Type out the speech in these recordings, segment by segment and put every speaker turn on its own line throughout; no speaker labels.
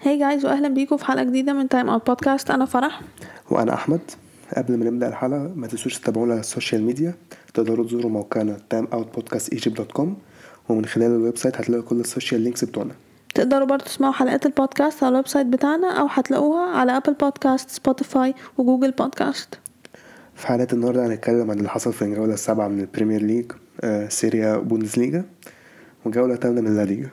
هاي جايز واهلا بيكم في حلقه جديده من تايم اوت بودكاست انا فرح
وانا احمد قبل ما نبدا الحلقه ما تنسوش تتابعونا على السوشيال ميديا تقدروا تزوروا موقعنا timeoutpodcastegypt.com ومن خلال الويب سايت هتلاقوا كل السوشيال لينكس بتوعنا
تقدروا برضه تسمعوا حلقات البودكاست على الويب سايت بتاعنا او هتلاقوها على ابل بودكاست سبوتيفاي وجوجل بودكاست
في حلقه النهارده هنتكلم عن اللي حصل في الجوله السابعه من البريمير ليج آه، سيريا بوندسليجا وجوله الثامنه من لا ليجا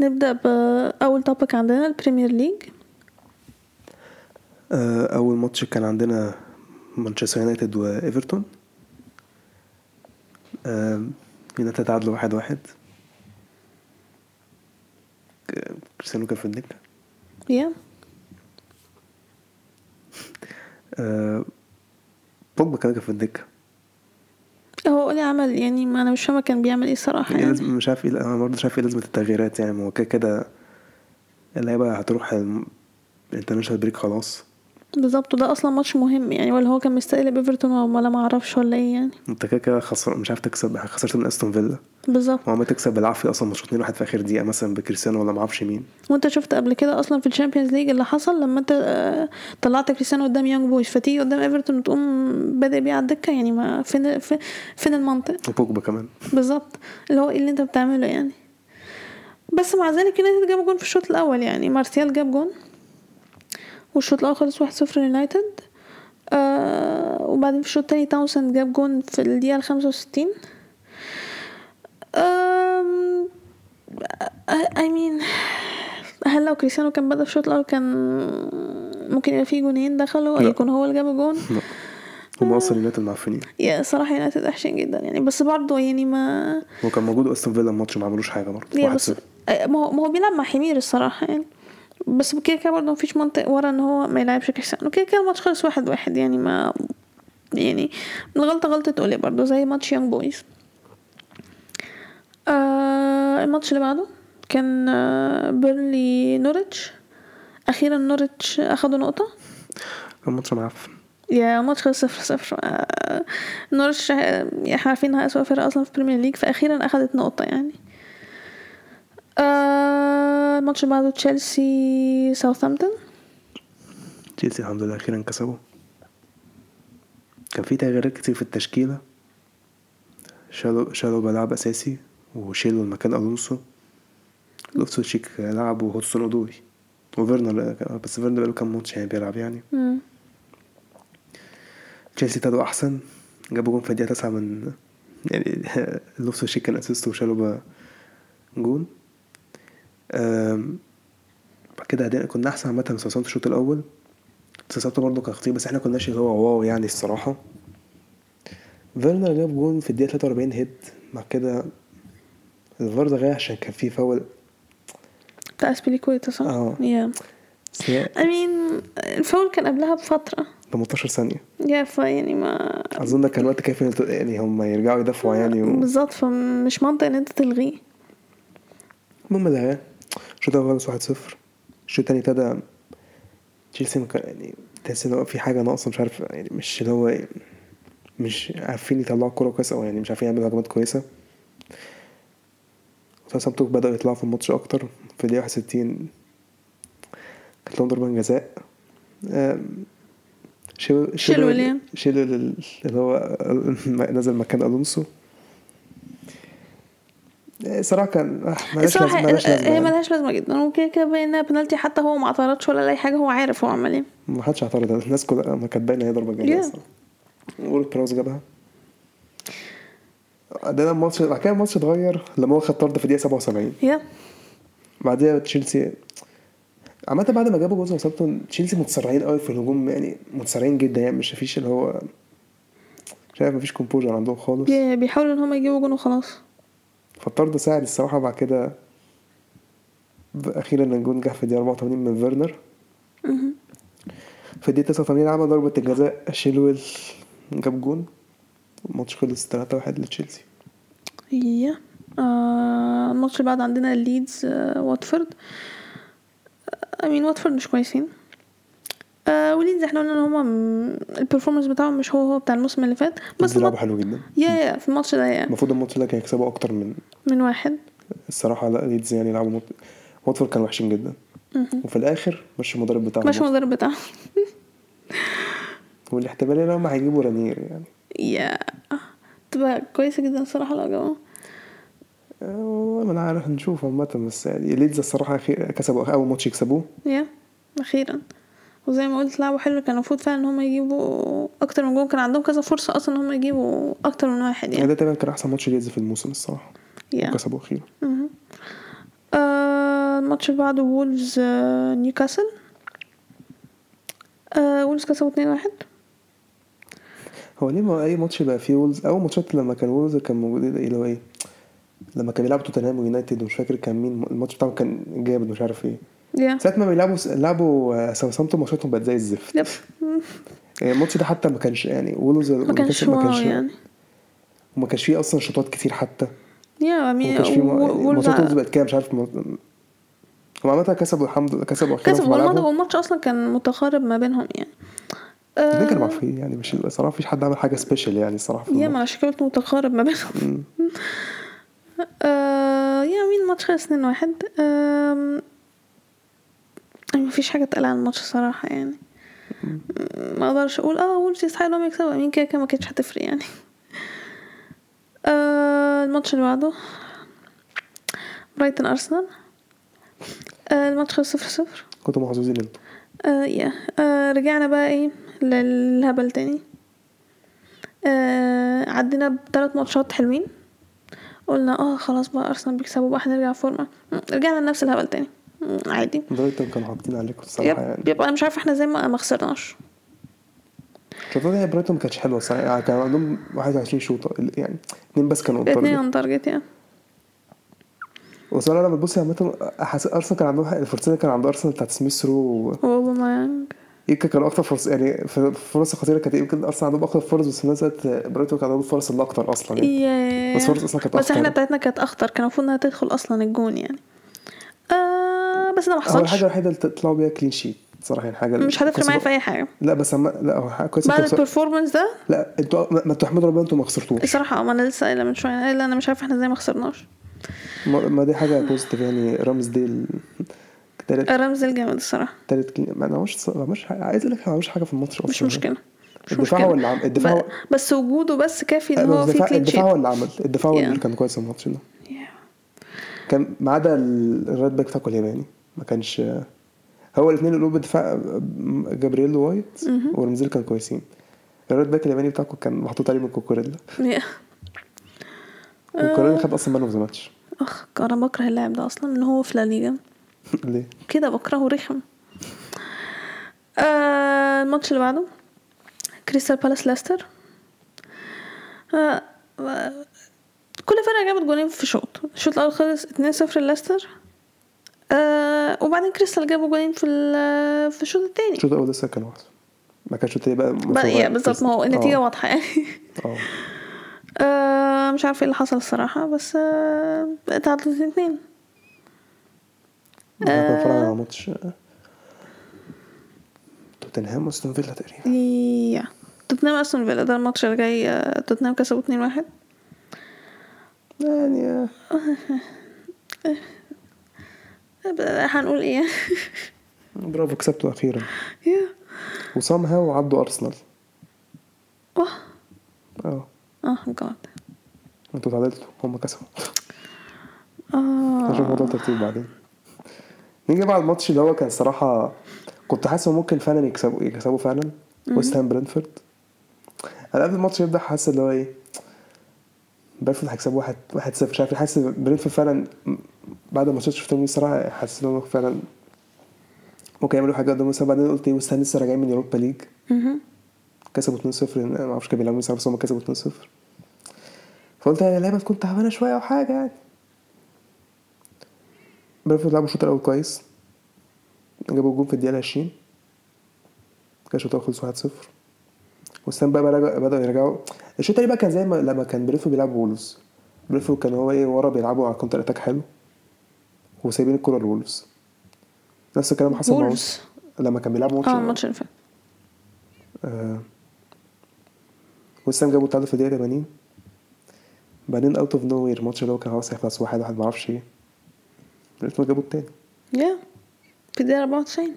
نبدا باول توبيك عندنا البريمير ليج
آه، اول ماتش كان عندنا مانشستر يونايتد وايفرتون آه، يونايتد تعادلوا واحد واحد ك- آه، كريستيانو كان في الدكة
يا
آه، بوجبا كان كان في الدكة
هو اللي عمل يعني ما انا مش فاهمه كان بيعمل ايه الصراحه
إيه
يعني
لازم مش عارف ايه انا برضه شايف ايه لازمة التغييرات يعني ما هو كده كده اللعيبة هتروح الم- الانترناشونال بريك خلاص
بالظبط ده اصلا ماتش مهم يعني ولا هو كان مستقلب ايفرتون ولا ما اعرفش ولا ايه يعني
انت كده كده خسر مش عارف تكسب خسرت من استون فيلا
بالظبط
هو ما تكسب بالعافية اصلا مش 2 واحد في اخر دقيقة مثلا بكريستيانو ولا ما اعرفش مين
وانت شفت قبل كده اصلا في الشامبيونز ليج اللي حصل لما انت آه، طلعت كريستيانو قدام يونج بويز فتيجي قدام ايفرتون وتقوم بادئ بيه على الدكه يعني ما فين في- فين المنطق
وبوجبا كمان
بالظبط اللي هو ايه اللي انت بتعمله يعني بس مع ذلك يونايتد جاب جون في الشوط الاول يعني مارسيال جاب جون والشوط الاول خلص 1-0 يونايتد آه وبعدين في الشوط التاني تاونسند جاب جون في الدقيقه الخمسة وستين آم، آه، I- I mean هل لو كريستيانو كان بدأ في الشوط الأول كان ممكن يبقى فيه جونين دخلوا أو
لا.
يكون هو اللي جاب الجون
لا. هما اصلا يونايتد معفنين
يا صراحة يونايتد وحشين جدا يعني بس برضه يعني ما
هو كان موجود استون فيلا الماتش ما عملوش حاجة برضه
يا
واحد
بس
صفر
آه، ما هو ما هو بيلعب مع حمير الصراحة يعني بس كده كده برضه مفيش منطق ورا ان هو ما يلعبش كريستيانو كده كده الماتش خلص واحد واحد يعني ما يعني الغلطة غلطة اولي برضه زي ماتش يونج بويز آه الماتش اللي بعده كان آه بيرلي نورتش اخيرا نورتش اخدوا نقطة
كان ماتش معفن
يا ماتش خلص صفر صفر آه، نورتش آه، احنا عارفينها أسوأ فرقة أصلا في البريمير ليج فأخيرا أخدت نقطة يعني آه، الماتش اللي بعده تشيلسي ساوثهامبتون
تشيلسي الحمد لله اخيرا كسبوا كان في تغييرات كتير في التشكيله شالوا شالوا بلعب اساسي وشيلوا مكان الونسو لوفتو شيك لعب وهوتسون اودوي وفيرنر بس فيرنر بقاله كام ماتش يعني بيلعب يعني
مم.
تشيلسي ابتدوا احسن جابوا جون في الدقيقه 9 من يعني لوفتو شيك كان اسيست وشالوا بقى جون أم، بعد كده هدينا كنا احسن عامه من ساوثهامبتون الشوط الاول ساوثهامبتون برضه كان خطير بس احنا كناش اللي هو واو يعني الصراحه فيرنر جاب جون في الدقيقه 43 هيد بعد كده الفار ده غير عشان كان فيه فاول
بتاع اسبليكويتا صح؟
اه.
يا
سيء
I mean الفاول كان قبلها بفترة
18 ثانيه
يا فا يعني ما
اظن ده كان وقت كافي إن- يعني هم يرجعوا يدافعوا يعني و...
بالظبط فمش منطق ان انت تلغيه
المهم ده الشوط الاول خلص 1-0 الشوط التاني ابتدى تشيلسي ما كان يعني تحس ان هو في حاجه ناقصه مش عارف يعني مش اللي هو مش عارفين يطلعوا كوره كويسه او يعني مش عارفين يعملوا هجمات كويسه ساوثهامبتون بدأوا يطلعوا في الماتش أكتر في الدقيقة 61 كانت لهم ضربة جزاء آم، شيلوا
شيلوا ليه؟
شيلوا ال- اللي هو نزل مكان ألونسو آه، صراحة كان آه، ملهاش لازمة
الصراحة
ملهاش لازمة
هي
يعني.
ملهاش لازمة جدا وكده كده باين انها بنالتي حتى هو ما اعترضش ولا اي حاجة هو عارف هو عمل ايه
ما حدش اعترض الناس كلها ما كانت باينه هي ضربه جزاء
Yeah.
اصلا وولد براوس جابها ده الماتش بعد كده الماتش اتغير لما هو خد طرد في الدقيقه 77
يا
بعدها تشيلسي عامة بعد ما جابوا جول ساوثهامبتون تشيلسي متسرعين قوي في الهجوم يعني متسرعين جدا يعني مش مفيش اللي هو مش عارف مفيش كومبوجر عندهم خالص
يا- بيحاولوا ان هم يجيبوا جون وخلاص
فالطرد ساعد الصراحه بعد كده اخيرا الجون جه في الدقيقه 84 من فيرنر في الدقيقه 89 عمل ضربه الجزاء شيلويل جاب جون الماتش خلص 3 1 لتشيلسي
يا آه، الماتش اللي بعد عندنا ليدز آه، واتفورد امين واتفورد مش كويسين آه وليدز احنا قلنا ان هما م- البرفورمانس بتاعهم مش هو هو بتاع الموسم اللي فات بس
بس لعبوا
المط...
حلو جدا
يا يا في الماتش ده يا
المفروض الماتش ده كان يكسبوا اكتر من
من واحد
الصراحه لا ليدز يعني لعبوا مط... واتفورد كانوا وحشين جدا وفي الاخر مش المدرب بتاعهم
مش المدرب بتاعهم
والاحتمال ان هم هيجيبوا رانير يعني
يا تبقى كويسة جدا الصراحة لو جابوها
آه، والله ما انا عارف نشوف عامة بس يعني ليدز الصراحة أخير كسبوا أول ماتش يكسبوه
يا أخيرا وزي ما قلت لعبوا حلو كان المفروض فعلا ان هم يجيبوا اكتر من جون كان عندهم كذا فرصة اصلا ان هم يجيبوا اكتر من واحد يعني
ده تقريبا كان أحسن ماتش ليدز في الموسم الصراحة
يا
وكسبوا أخيرا
آه، الماتش اللي بعده وولفز آه، نيوكاسل آه، وولفز كسبوا 2 واحد
هو ليه ما أي ماتش بقى فيه وولز أول ماتشات لما كان وولز كان موجود إيه اللي هو إيه لما كان بيلعبوا توتنهام ويونايتد ومش فاكر كان مين الماتش بتاعهم كان جامد مش عارف ايه
يا
ساعة ما بيلعبوا لعبوا آه، ساوثهامبتون ماتشاتهم بقت زي الزفت
يب
يعني الماتش ده حتى ما كانش يعني وولز
ما كانش
والنيوكاسل
واو يعني
وما كانش فيه أصلا شوطات كتير حتى
يا
ما
مين
كانش فيه
و- وولفز
ماتشات وولز بقت كده مش عارف م- هم عامة كسبوا الحمد لله كسبوا أخيرا
كسب
في
والماتش
ملعبهم
والماتش اصلا كان متقارب ما بينهم يعني
ده كانوا
آه
معفيين يعني مش الصراحة مفيش حد عمل حاجة سبيشال يعني الصراحة في
يا ما
الماتش.
انا شكلت متقارب ما بينهم آه يا مين ماتش خلص 2 واحد آه ما فيش حاجه تقلق عن الماتش صراحه يعني ما اقدرش اقول اه وولفز يستحقوا انهم يكسبوا مين كده كده ما كانتش هتفرق يعني آه الماتش اللي بعده برايتون ارسنال آه الماتش خلص صفر صفر
كنتوا محظوظين انتوا
آه يا آه رجعنا بقى ايه للهبل تاني آه عدينا بثلاث ماتشات حلوين قلنا اه خلاص بقى ارسنال بيكسبوا بقى هنرجع فورمه م، رجعنا لنفس الهبل تاني م، عادي
برايتون كانوا حاطين عليكم الصراحة
يب
يعني
يب انا مش عارفه احنا زي ما ما خسرناش
الشوطات دي برايتون ما كانتش حلوة الصراحة يعني كان عندهم 21 شوطة ال- يعني اتنين بس كانوا
اتنين
قدام
اون تارجت يعني
وصراحة لما تبص عامة حس- أرسنال كان عندهم حق- الفرصة اللي كان عند أرسنال بتاعت سميث رو
واوباميانج
ويمكن كانوا أكتر فرص يعني ف- فرص خطيرة كانت يمكن أرسنال عندهم أكتر فرص بس في نفس الوقت برايتون كان عندهم الفرص اللي أكتر أصلا
إيه،
يعني
ياه.
بس فرصة أصلا كانت
بس احنا
أخطر.
بتاعتنا كانت اخطر كان المفروض انها تدخل اصلا الجون يعني آه بس ده ما
هو الحاجة
حصلش
الوحيدة اللي تطلعوا بيها كلين شيت صراحة يعني حاجة
مش هتفرق
كويسة
معايا
جدا.
في اي حاجه
لا بس أما لا هو كويس
بعد
انتوا خسر-
البرفورمانس ده
لا انتوا ما ما تحمدوا ربنا انتوا ما خسرتوش
الصراحه اه ما انا لسه قايله من شويه أنا قايله انا مش عارفه احنا زي ما خسرناش
ما ما دي حاجة بوزيتيف يعني رامز ديل تالت
رمز الجامد الصراحه
تالت كلين ما عملش ما عملش حاجة عايز اقول لك ما عملش حاجة في الماتش اصلا
مش مشكله مش
الدفاع
مشكله
هو اللي عم- الدفاع
ب-
هو-
بس وجوده بس كافي ان هو في
الدفاع
كلين شيت
الدفاع هو اللي عمل الدفاع هو اللي
Yeah.
كان كويس في الماتش ده كان ما عدا ال- الرايت باك بتاعكم الياباني ما كانش هو الاثنين قلوب الدفاع جابرييل وايت ورمزيل كانوا كويسين الرايت باك الياباني بتاعكم كان محطوط عليه من كوكوريلا
آه.
كوكوريلا خد اصلا مان اوف ذا ماتش
اخ انا بكره اللاعب ده اصلا ان هو في لا ليجا
ليه؟
كده بكرهه رخم آه الماتش اللي بعده كريستال بالاس لاستر آه آه، كل فرقة جابت جولين في شوط الشوط الأول خلص 2-0 لاستر آه وبعدين كريستال جابوا جولين في ال- في الشوط التاني
الشوط الاول لسه كان واحد ما كانش التاني بقى
بقى- يا بالظبط ما هو النتيجة
آه،
واضحة يعني
اه
آه مش عارفة ايه اللي حصل الصراحة بس آه تعادلوا اتنين اتنين
انا كنت بتفرج على ماتش آه، توتنهام واستون فيلا تقريبا
يا توتنهام استون فيلا ده الماتش اللي جاي آه، توتنهام كسبوا اتنين واحد
يعني آه،
هنقول ايه
برافو كسبتوا اخيرا
يا
وسام هاو عدوا ارسنال
واه
اه
اه جاد
انتوا تعادلتوا هم كسبوا
اه
هنشوف موضوع الترتيب بعدين نيجي بقى على الماتش اللي هو كان صراحة كنت حاسس إن ممكن فعلا يكسبوا يكسبوا فعلا ويست هام برينفورد انا قبل الماتش يبدا حاسس اللي هو ايه برينفورد هيكسبوا واحد واحد صفر مش عارف ليه، حاسس إن برينفورد فعلا م- بعد ما شفتهم دي الصراحه حاسس ان هم فعلا ممكن يعملوا حاجه قدام ويست هام. بعدين قلت ايه ويست هام لسه راجعين من يوروبا ليج
آه. مهم.
كسبوا 2-0 لأن انا ما اعرفش كانوا بيلعبوا مين بس هم كسبوا 2-0 فقلت يا لعيبه تكون تعبانه شويه او حاجه يعني برينفورد لعبوا الشوط الاول كويس جابوا جون في الدقيقه 20 كان الشوط الاول خلص 1-0 وستان بقى رجع بدأوا يرجعوا الشوط التاني بقى كان زي ما لما كان برينفورد بيلعب وولفز برينفورد كان هو ايه ورا بيلعبوا على كونتر اتاك حلو وسايبين الكرة لولفز نفس الكلام اللي حصل مع
وولفز.
وولفز لما كان بيلعبوا
اه
ماتش يعني.
الماتش اللي فات
آه. وسام جابوا التعادل في الدقيقة 80 بعدين اوت اوف نو وير إيه. الماتش اللي هو كان خلاص هيخلص واحد واحد معرفش ايه برينفورد جابوا التاني
يا في الدقيقة 94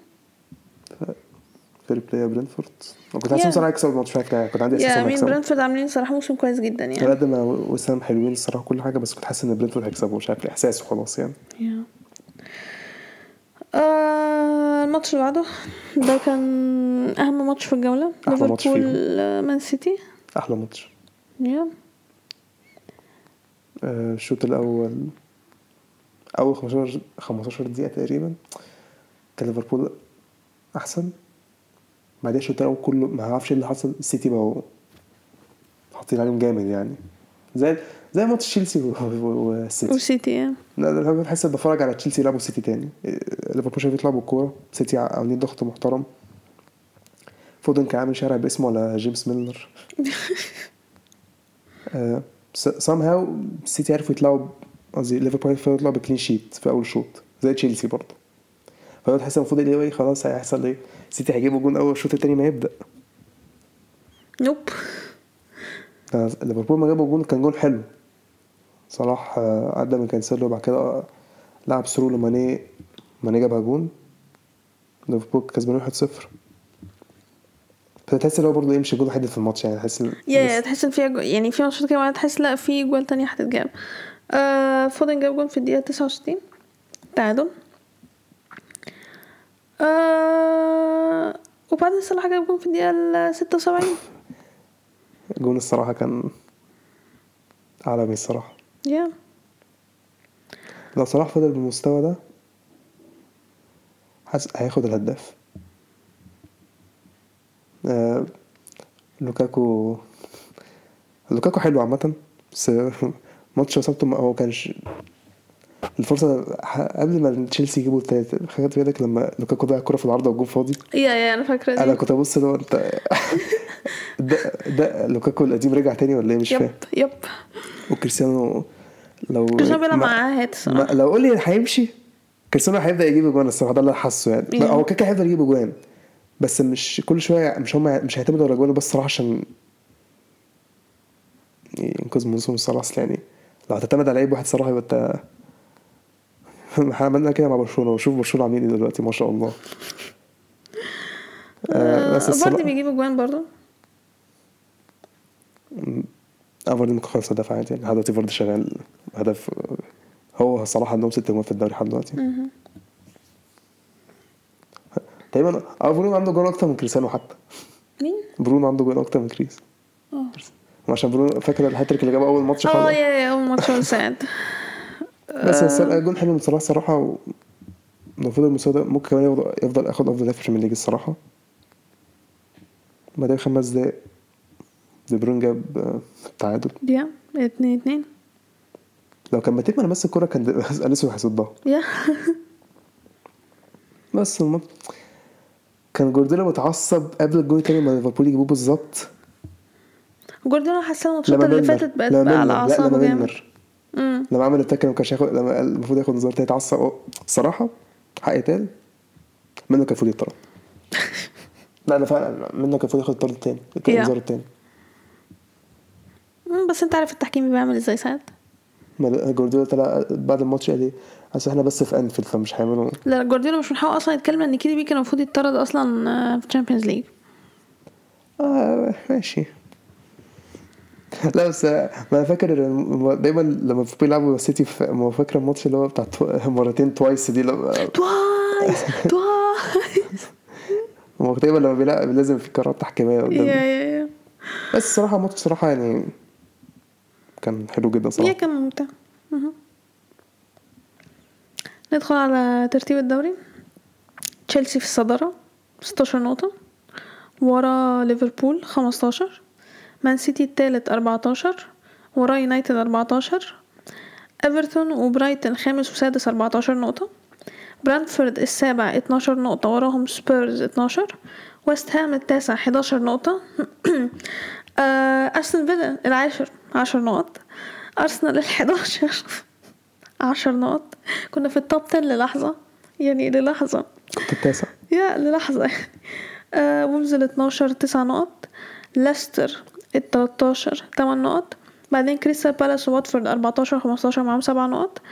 فير بلاي برينفورد كنت حاسس
Yeah.
بصراحه هيكسب الماتش مش فاكر كنت عندي احساس
يا
انه
مين
هيكسبوا
برينفورد عاملين صراحة موسم كويس جدا
على
يعني
قد ما وسام حلوين الصراحه كل حاجه بس كنت حاسس ان برينفورد هيكسبوا مش عارف ليه احساسي خلاص يعني
يا. آه الماتش اللي بعده ده كان أهم ماتش في الجولة
أحلى ماتش
ليفربول
فيهم.
آه، مان سيتي
احلى ماتش
يا
آه، الشوط الاول اول 15 15 دقيقه تقريبا كان ليفربول احسن بعدين الشوط الاول كله ما اعرفش ايه اللي حصل السيتي بقوا حاطين عليهم جامد يعني زي زي ماتش تشيلسي و- و- والسيتي
وسيتي يا.
لا لا، انا بحس بتفرج على تشيلسي يلعبوا السيتي تاني إيه، ليفربول شايف يلعبوا الكوره سيتي عاملين ضغط محترم فودن كان عامل شارع باسمه على جيمس ميلنر آه، سام هاو السيتي عرفوا يطلعوا ب- قصدي ليفربول عرفوا يطلعوا بكلين شيت في اول شوط زي تشيلسي برضه فهو تحس المفروض اللي هو إيه، خلاص هيحصل ايه السيتي هيجيبوا جون اول الشوط التاني ما يبدا
نوب
آه، ليفربول ما جابوا جون كان جون حلو صلاح آه، عدى من كانسيلو وبعد كده آه، لعب ثرو لماني ماني جابها جون ليفربول كسبان 1-0 فتحس ان هو برضه يمشي جون واحد في الماتش يعني تحس إن-
يا
بس-
تحس ان فيها جو... يعني في ماتشات كده معينة تحس لا في جوال تانية هتتجاب آه فودن جاب جول في الدقيقة 69 تعادل آه وبعدين صلاح جاب جول في الدقيقة ال 76
جون الصراحه كان عالمي الصراحه
يا
لو صلاح فضل بالمستوى ده حاسس هياخد الهداف آه لوكاكو لوكاكو حلو عامة بس ماتش اصابته ما- هو كانش الفرصة ح- قبل ما تشيلسي يجيبوا التالت خدت بالك لما لوكاكو ضيع الكورة في العارضة والجون فاضي
يا يا انا فاكرة
انا
دي
كنت ابص اللي هو انت ده ده لوكاكو القديم رجع تاني ولا ايه مش
يب
فاهم
يب
وكريستيانو لو
كريستيانو بيلعب
ما-
مع عاهات
ما
الصراحة
لو قول لي هيمشي كريستيانو هيبدا يجيب اجوان الصراحه ده اللي أنا حاسه يعني
Yeah.
بقى هو كده كده هيفضل يجيب اجوان بس مش كل شويه مش هم مش هيعتمدوا على اجوانه بس الصراحه عشان ينقذ موسم الصراحه اصل يعني لو هتعتمد على لعيب واحد صراحه يبقى انت احنا عملنا كده مع برشلونه وشوف برشلونه عاملين ايه دلوقتي ما شاء الله آه، بس
آه فاردي
الصراحه
بيجيب اجوان برضه
آه، فاردي ممكن خالص هدف عادي يعني لحد دلوقتي فاردي شغال هدف هو صلاح عندهم ست جوان في الدوري لحد دلوقتي
مهم.
تقريبا اه برونو عنده جول اكتر من كريستيانو حتى
مين؟
برونو عنده جول اكتر من كريس
اه
عشان برونو فاكر الهاتريك اللي جابه اول ماتش
اه
خالص
يا يا اول ماتش هو سعد
بس الصراحه جول حلو من صلاح صراحه و... لو فضل المستوى ده ممكن كمان يفضل يفضل ياخد افضل لاعب في الشامبيونز ليج الصراحه بعدها خمس دقايق دي برون جاب آه، التعادل
يا اتنين اتنين
لو كان ماتيب انا بس الكوره كان د- اليسو هيصدها
يا
بس الماتش كان جوارديولا متعصب قبل الجول التاني ما ليفربول يجيبوه بالظبط
جوارديولا حاسة الماتشات
لما
اللي
ميلنر-
فاتت بقت
لما
بقى على
ميلنر- لا
اعصابه
لما
جامد
ميلنر
مم.
لما عمل التاكل ما كانش هياخد لما قال المفروض ياخد نظاره اتعصب أو- الصراحه حق يتقال منه كان المفروض يطرد لا انا فعلا منه كان المفروض ياخد الطرد التاني
Yeah.
الانذار التاني
مم، بس انت عارف التحكيم بيعمل ازاي ساعات
ما- جوارديولا طلع بعد الماتش قال ايه اصل احنا بس في انفيلد فمش هيعملوا
لا جوارديولا مش من حقه اصلا يتكلم ان كيدي بي كان المفروض يتطرد اصلا آه، في تشامبيونز ليج
اه ماشي لا بس آه، ما انا فاكر الم- دايما لما بيلعبوا السيتي في ما فاكر الماتش اللي هو بتاع تو- مرتين توايس دي لما
توايس توايس
هو دايما لما بيلعب لازم في قرارات تحكيميه
يا
قدام
يا يا
بس الصراحه الماتش صراحه يعني كان حلو جدا صراحه
يا كان ممتع مهم. ندخل على ترتيب الدوري تشيلسي في الصدارة 16 نقطة ورا ليفربول 15 مان سيتي التالت 14 ورا يونايتد 14 ايفرتون وبرايتن خامس وسادس 14 نقطة برانفورد السابع 12 نقطة وراهم سبيرز 12 ويست هام التاسع 11 نقطة آه، أرسنال فيلا العاشر 10 نقط أرسنال الحداشر 10 نقط كنا في التوب 10 للحظة يعني للحظة
كنت التاسع
يا للحظة آه، وولز ال 12 9 نقط ليستر ال 13 8 نقط بعدين كريستال بالاس وواتفورد 14 15 معاهم 7 نقط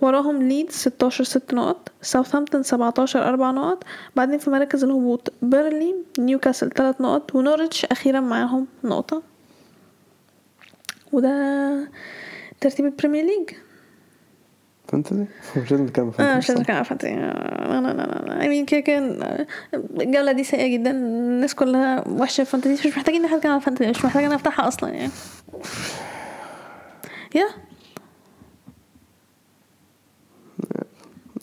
وراهم ليدز 16 6 نقط ساوثهامبتون 17 4 نقط بعدين في مراكز الهبوط بيرلي نيوكاسل 3 نقط ونورتش اخيرا معاهم نقطة وده ترتيب البريمير ليج
فانتزي مش لازم نتكلم عن
اه مش
فانتزي
لازم
صح؟
اتكلم عن فانتزي لا لا لا لا I mean كده كده الجولة دي سيئة جدا الناس كلها وحشة في فانتزي مش محتاجين ان احنا نتكلم عن فانتزي مش محتاجة ان أنا افتحها اصلا يعني يا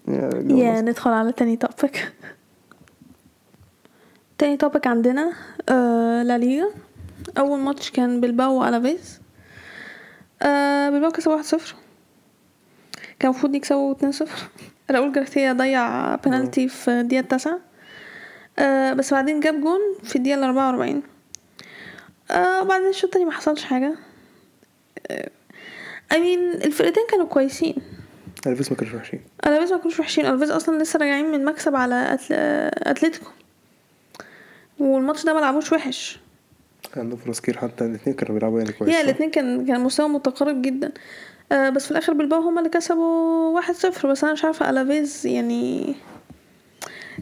يا جو
يا
بس.
ندخل على تاني توبك تاني توبك عندنا آه لا ليغا اول ماتش كان بالباو على فيس آه بالباو كسب واحد صفر كان المفروض يكسبوا اتنين صفر راؤول جارسيا ضيع بنالتي في الدقيقة التاسعة آه بس بعدين جاب جون في الدقيقة الأربعة وأربعين آه وبعدين الشوط التاني ما حصلش حاجة آه I mean الفرقتين كانوا كويسين
الفيس ما كانوش وحشين
الفيز ما كانوش وحشين الفيز اصلا لسه راجعين من مكسب على أتل... اتلتيكو والماتش ده ما لعبوش وحش
عندهم فرص كتير حتى الاثنين كانوا بيلعبوا يعني كويس
يا
صح؟
الاتنين كان كان مستوى متقارب جدا آه بس في الاخر بالباو هما اللي كسبوا واحد صفر بس انا مش عارفه الافيز يعني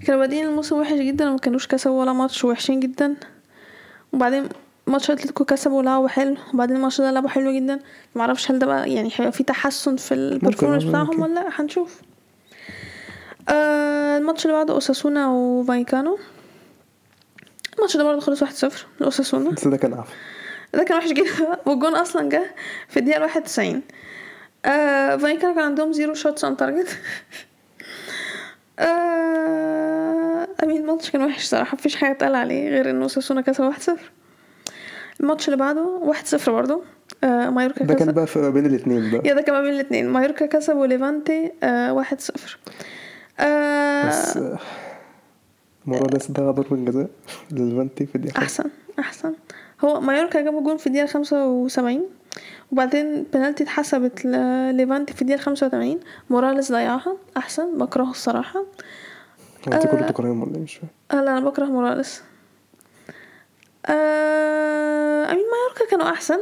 كانوا بادئين الموسم وحش جدا وما كانوش كسبوا ولا ماتش وحشين جدا وبعدين ماتش اتلتيكو كسبوا لعبوا حلو وبعدين الماتش ده لعبوا حلو جدا معرفش هل ده بقى يعني هيبقى في تحسن في البرفورمانس
ممكن.
بتاعهم ولا لأ، هنشوف آه الماتش اللي بعده اوساسونا وفايكانو الماتش ده برضه خلص 1-0 لاوساسونا
بس ده كان عفو
ده كان وحش جدا والجون اصلا جه في الدقيقه 91 آه فايكر كان عندهم زيرو شوتس اون تارجت آه امين الماتش كان وحش صراحه مفيش حاجه اتقال عليه غير ان ساسونا كسب 1-0 الماتش اللي بعده 1-0 برضه آه مايوركا
ده كان
كسب
بقى في بين الاثنين بقى
يا ده كمان بين الاثنين مايوركا كسب وليفانتي آه 1-0
بس
آه
آه، الموضوع ده ده ضربة جزاء للفانتي في الدقيقة
احسن احسن هو مايوركا جابوا جون في الدقيقه 75 وبعدين بنالتي اتحسبت لليفانتي في الدقيقه 85 موراليس ضيعها احسن بكرهه الصراحه
انت
آه.
كنت بتقارنهم ولا إيه؟ مش فاهم
هلا انا بكره موراليس آه... امين مايوركا كانوا احسن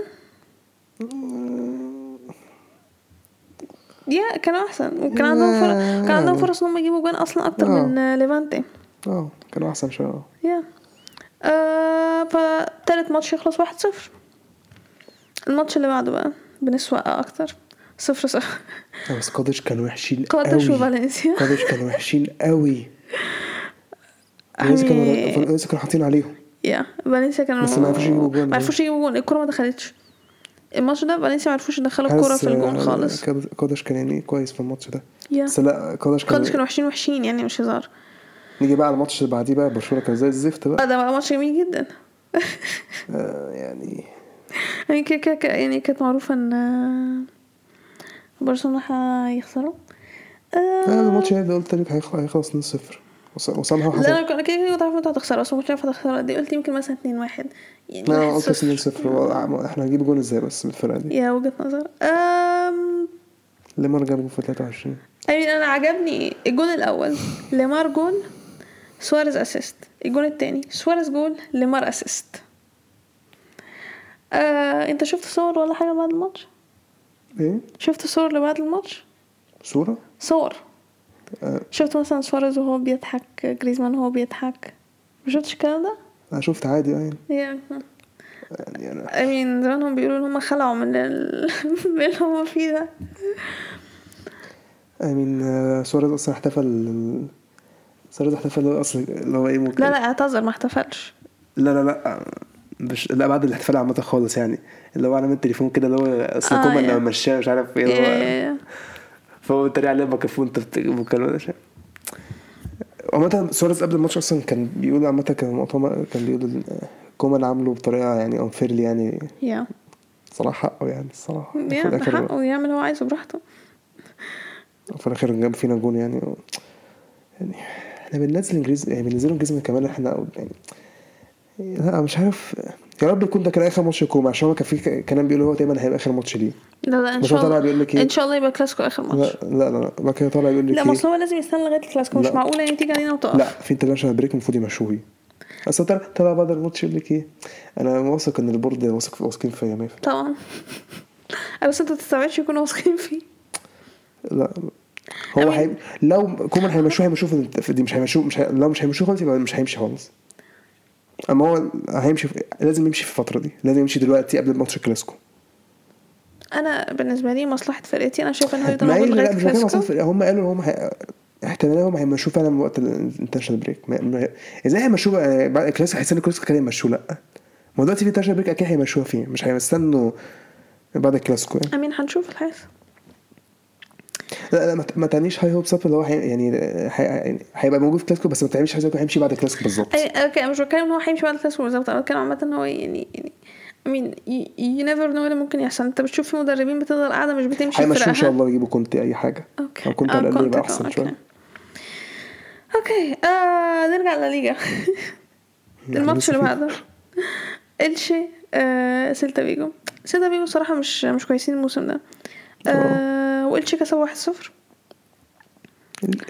يا كانوا احسن وكان عندهم فرص كان عندهم فرص ان هم يجيبوا جون اصلا اكتر
آه.
من آه، ليفانتي
اه كانوا احسن شوية آه.
يا آه فتالت ماتش يخلص واحد صفر الماتش اللي بعده بقى بنسوق اكتر صفر صفر
آه، بس قادش كانوا وحشين
قادش إيه؟
قوي.
وفالنسيا
قادش كانوا وحشين قوي فالنسيا كانوا
أمي.
فالنسيا كانوا حاطين عليهم
يا فالنسيا كانوا
بس ما عرفوش يجيبوا جون.
ما عرفوش يجيبوا جون الكرة ما دخلتش الماتش ده فالنسيا ما عرفوش يدخلوا الكرة
حاسس،
في الجون
آه،
خالص
كاد- قادش كان يعني كويس في الماتش ده
يا
بس لا قادش كان
قادش كانوا وحشين وحشين يعني مش هزار
نيجي بقى على الماتش اللي بعديه بقى برشلونة كان زي الزفت
آه،
بقى
ده بقى ماتش جميل جدا
آه يعني
يعني كده كده- كده يعني كانت معروفة ان آه، برشلونة هيخسروا آه،
آه الماتش ده قلت لك هيخ- هيخلص 2-0 وص- وصلها
لا
حصل
انا كنت كده كده كنت عارفه انتوا هتخسروا بس ما كنتش عارفه هتخسروا قد ايه قلت يمكن مثلا 2 1 يعني
انا
واحد
قلت
صفر.
2-0 احنا هنجيب جون ازاي بس بالفرقة دي
يا وجهه نظر أم...
ليمار جاب جون في 23
أمين انا عجبني الجون الاول ليمار جول سواريز اسيست الجون التاني سواريز جول ليمار اسيست آه، انت شفت صور ولا حاجه بعد الماتش
ايه
شفت صور اللي بعد الماتش
صورة
صور
آه.
شفت مثلا سواريز وهو بيضحك جريزمان وهو بيضحك ما شفتش الكلام ده
انا شفت عادي يعني
yeah.
يعني انا
امين زمان هم بيقولوا ان هم خلعوا من ال... من اللي هم فيه ده
I mean آه، سواريز اصلا احتفل سواريز احتفل اللي هو اصلا اللي هو ايه ممكن
لا لا اعتذر ما احتفلش
لا لا لا مش لا بعد الاحتفال عامة خالص يعني اللي هو عالم التليفون كده اللي هو اصل
آه،
كومان
يا. إيه.
لما مشاه مش عارف ايه اللي هو
يا-
فهو بيتريق عليه بكفون انت بت- بتكلم ده عامة سواريز قبل الماتش اصلا كان بيقول عامة كان مؤتمر كان بيقول إن كومان عامله بطريقة يعني انفيرلي يعني
يا
صراحة حقه يعني الصراحة في
يا
الآخر
حقه يعمل اللي هو عايزه براحته
في الآخر جاب فينا جون يعني و... يعني احنا بننزل انجليزي يعني بننزل انجليزي كمان احنا يعني لا مش عارف يا رب يكون ده كان اخر ماتش لكومان عشان هو كان في كلام بيقول هو دايما هيبقى اخر ماتش ليه
لا لا ان
بس
شاء
هو طلع
الله
بيقول لك ايه
ان شاء الله يبقى كلاسيكو اخر ماتش
لا لا لا بعد كده طالع يقول لك
لا ما
ايه
اصل هو لازم يستنى لغايه الكلاسيكو مش
لا.
معقوله يعني تيجي علينا
لا
وتقف
في انترناشونال بريك المفروض يمشوه اصل طلع إيه؟ طلع بعد الماتش يقول لك ايه انا واثق ان البورد واثق واثقين فيا 100%
طبعا بس انت متستوعبش يكونوا واثقين فيه
لا هو
I mean-
هي... لو كومان هيمشوه هيمشوه في- في دي مش هيمشوه مش هي... لو مش هيمشوه خالص يبقى مش هيمشي خالص اما هو هيمشي في... لازم يمشي في الفتره دي لازم يمشي دلوقتي قبل ماتش الكلاسيكو
انا بالنسبه لي مصلحه فرقتي انا شايفه انه هيقدر
ما هي
موجود
لا
لغايه
مش بتكلم
الكلاسيكو
اصلا في- هم قالوا ان هم هي... احتمال هم هيمشوه فعلا وقت الانترناشونال بريك ما... ما... ازاي هيمشوه بقى بعد الكلاسيكو هيستنوا الكلاسيكو كان يمشوه لا ما دلوقتي في انترناشونال بريك اكيد هيمشوها فيه مش هيستنوا بعد الكلاسيكو يعني
امين هنشوف الحياه
لا لا ما ت- ما تعنيش هاي هوبس اب اللي هو هي... يعني هي- هيبقى موجود في الكلاسيكو بس ما تعملش هاي هيمشي بعد الكلاسيكو بالظبط
اي اوكي انا مش بتكلم ان هو هيمشي بعد الكلاسيكو بالظبط انا بتكلم عامه ان هو يعني يعني I mean you- you never know اللي ممكن يحصل انت بتشوف في مدربين بتفضل قاعده مش بتمشي
هيمشوا ان شاء
فرقها.
الله يجيبوا كنت اي حاجه
اوكي
او كنت على
آه،
الاقل
كونتي
يبقى
طبعا،
احسن
أوكي.
شويه
اوكي آه نرجع لليجا الماتش اللي بعده الشي آه سيلتا فيجو سيلتا فيجو صراحه مش مش كويسين الموسم ده آه والشي كسبوا 1-0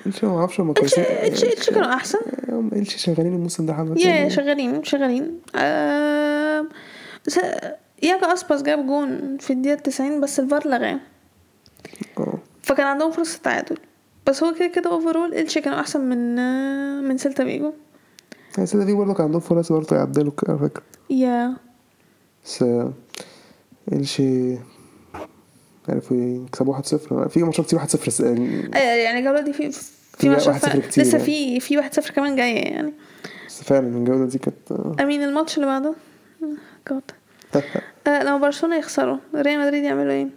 الشي ما اعرفش هم
الشي
كويسين
الشي الشي كانوا احسن
هم الشي شغالين الموسم ده حبه
يا شغالين شغالين آه س... ياجا اسباس جاب جون في الدقيقه 90 بس الفار لغاه
آه.
فكان عندهم فرصه تعادل بس هو كده كده اوفرول الشي كانوا احسن من آه من سيلتا فيجو
بس ده يعني في برضه كان عندهم فرص برضه يعدلوا ك- على فكره
يا
بس آه، الشي عرفوا يكسبوا 1-0 في ماتشات كتير 1-0 بس، آه،
آه، يعني الجوله دي في في
في
ماتش
واحد صفر كتير
لسه
يعني.
في في واحد صفر كمان جايه يعني
بس فعلا الجوله دي كانت آه،
امين الماتش اللي بعده جود آه لما برشلونه يخسروا ريال مدريد يعملوا ايه؟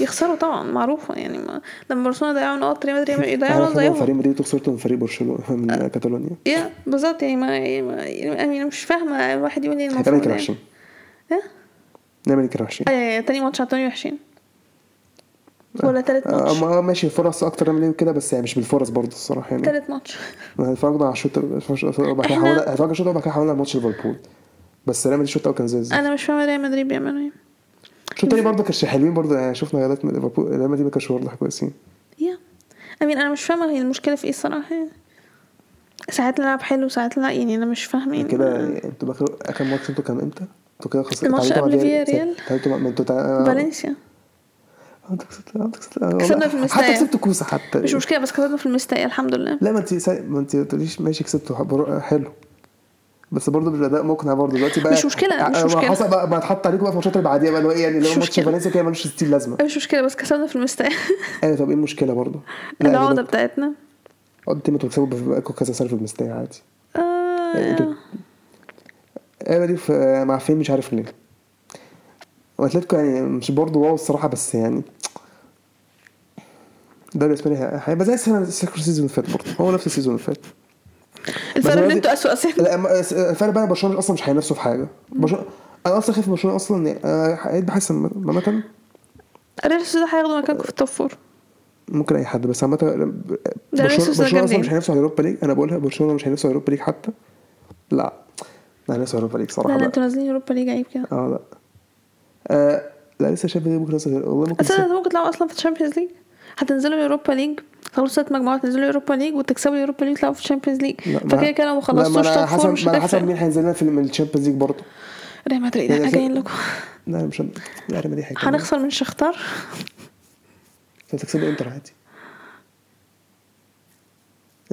يخسروا طبعا معروفه يعني ما لما برشلونه يضيعوا نقط ريال مدريد يضيعوا
عارف
نقط
ان
زيهم
فريق مدريد خسرته من فريق برشلونه من آه، كاتالونيا
يا بالظبط يعني ما يعني ما- يعني أمين مش فاهمه الواحد يقول ايه
نعمل
المفروض
كده
يعني
وحشين
إيه؟
نعمل كده وحشين
آه تاني ماتش على التاني وحشين ولا تالت ماتش
آه، آه، ماشي فرص اكتر من كده بس يعني مش بالفرص برضه الصراحه يعني
تالت ماتش
ما اتفرجنا على الشوط الشوط الرابع كده
طيب. إحنا-
حاولنا اتفرجنا على الشوط الرابع كده حاولنا على ماتش ليفربول بس ريال مدريد الشوط الاول كان زي الزفت
انا مش فاهمه ريال مدريد بيعملوا ايه
الشوط التاني برضه كانش حلوين برضه يعني شفنا غيرات من ليفربول ريال مدريد ما كانش برضه كويسين
يا امين انا مش فاهمه هي المشكله في ايه الصراحه يعني ساعات نلعب حلو ساعات لا يعني انا مش فاهمه يعني
كده انتوا اخر اخر ماتش انتوا كان امتى؟ انتوا كده خسرتوا
الماتش
تعادلتوا مع
قبل
فيا-
فياريال.
تعادلتوا مع- ما انتوا تع-
فالنسيا
آه، انتوا كسبتوا آه، انتوا كسبتوا آه،
كسبنا
والله.
في المستايا.
حتى كسبتوا كوسه حتى
مش مشكله بس كسبنا في المستاء الحمد لله
لا ما انت سا- ما انت تقوليش ماشي كسبتوا حب- حلو بس برضه بالاداء مقنع برضه دلوقتي بقى
مش مشكلة، مش
آه،
مشكلة.
حصل بقى ما اتحط عليكم بقى في الماتشات اللي بعديها بقى اللي هو ايه يعني اللي هو
مش
ماتش
مشكلة.
فالنسيا كده ملوش ستيل لازمه
مش مشكله بس كسبنا في المستاء
ايوه طب ايه المشكله برضه؟ لا،
العقده بتاعتنا
انتوا ما تكسبوا بقالكم كذا سنه في المستاهل عادي
آه،
انتوا- ايوه دي في- مع فين مش عارف ليه واتلتيكو يعني مش برضه واو الصراحه بس يعني الدوري الاسباني هي- هيبقى زي السنه السيزون اللي فات برضه هو نفس السيزون اللي فات
الفرق ان
دلوقتي-
انتوا اسوء اساسا
لا، ما- الفرق بقى برشلونه اصلا مش هينافسوا في حاجه برشلونه انا اصلا خايف من برشلونه اصلا يعني أنا هيبقى حاسس إن عامه
ريال سوسيداد هياخدوا مكانكم في التوب فور
ممكن اي حد بس عامه
ده
برشلونه
نفسه
برشلونه اصلا
جامدين.
مش هينافسوا على اوروبا ليج انا بقولها برشلونه مش هينافسوا على اوروبا ليج حتى لا لا هينافسوا على اوروبا ليج
لا
صراحه
لا
بقى.
انتوا نازلين اوروبا ليج عيب كده
اه لا آه لا لسه شايف فيديو بكره صغير والله ممكن
اصل
لسه-
انتوا ممكن تلعبوا اصلا في الشامبيونز ليج هتنزلوا يوروبا ليج تخلصوا ست مجموعات تنزلوا يوروبا ليج وتكسبوا يوروبا ليج تلعبوا في الشامبيونز ليج
لا، ما-
فكده كده لو ما
لا، ما
خلصتوش
أنا
توب
حسب
فور مش
ما أنا حسب
هتفرق
مين هينزل لنا في من الشامبيونز ليج برضه
ريال مدريد احنا
يعني
جايين لكم
لا أنا مش هم- لا ريال مدريد هيكمل.
هنخسر من شختار
انت هتكسبوا انتر عادي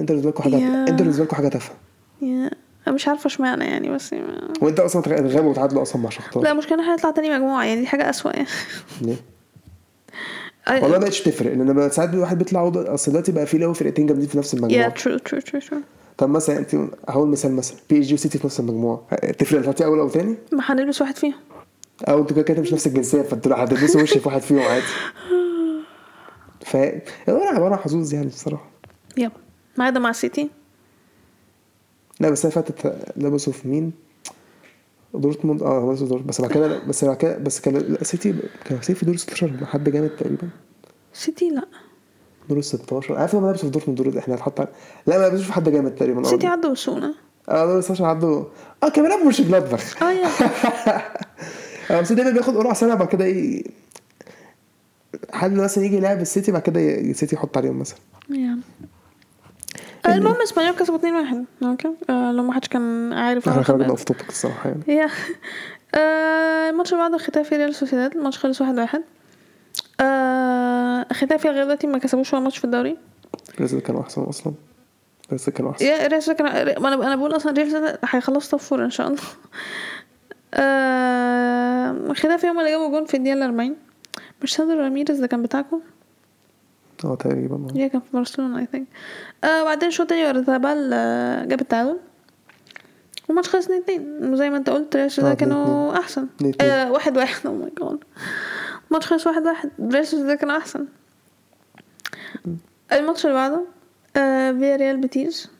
انتر بالنسبه لكم حاجه
يا.
انتر بالنسبه لكم حاجه تافهه
يا انا يعني مش عارفه اشمعنى يعني بس ما-
وانت اصلا تغابوا وتعادلوا اصلا مع شختار
لا مشكلة احنا هنطلع تاني مجموعة يعني دي حاجة أسوأ يعني
ليه؟ والله ما بقتش تفرق لان بقى ساعات الواحد بيطلع وض- اصل دلوقتي بقى في لو فرقتين جامدين في نفس
يا
المجموعه
ترو ترو ترو ترو
طب مثلا انت هقول مثال مثلا بي اس جي وسيتي في نفس المجموعه تفرق لو طلعتي اول او تاني
ما هنلبس واحد فيهم
او انتوا كده كده مش نفس الجنسيه فانتوا هتلبسوا وش في واحد فيهم عادي ف هو عباره عن حظوظ يعني بصراحه
يب ما عدا مع السيتي
لا بس هي فاتت لبسوا في مين؟ دورتموند اه لبسوا دورتموند بس بعد كده بس بعد كده بس كان لا، سيتي كان سيتي في دور 16 حد جامد تقريبا
سيتي لا
دور 16 عارف لما لبسوا في دورتموند دور احنا هنحط على- لا ما لبسوش في حد جامد تقريبا
سيتي
اه
عدوا وسونا
اه دور 16 عدوا اه كمان لعبوا مش بلادبخ
اه يا
اه بس دايما بياخد قرعه سنه بعد كده ايه حد مثلا يجي يلعب السيتي بعد كده ي- السيتي يحط عليهم مثلا
يا المهم اسبانيول كسبوا 2 1 اوكي آه، لو ما حدش كان عارف
احنا خرجنا
الخبر.
اوف توبك الصراحه يعني
يا آه، الماتش اللي بعده ختافي ريال سوسيداد الماتش خلص 1 1 آه ختافي لغايه دلوقتي ما كسبوش ولا ماتش في الدوري
لسه كانوا احسن اصلا لسه كانوا احسن
يا ريال كان ما انا انا بقول اصلا ريال ده هيخلصوا توب فور ان شاء الله آه ختافي هم اللي جابوا جون في الدقيقه 40 مش ساندرو راميريز ده كان بتاعكم
اه تقريبا
هي كان في برشلونه اي ثينك آه بعدين الشوط التاني ارتابال آه جاب التعادل والماتش خلص 2 2 زي ما انت قلت ريال ده
اه،
كانوا
2-2.
احسن
2-2.
آه واحد واحد او ماي جاد الماتش خلص واحد واحد ريال ده كانوا احسن الماتش اللي بعده آه فيا ريال بيتيز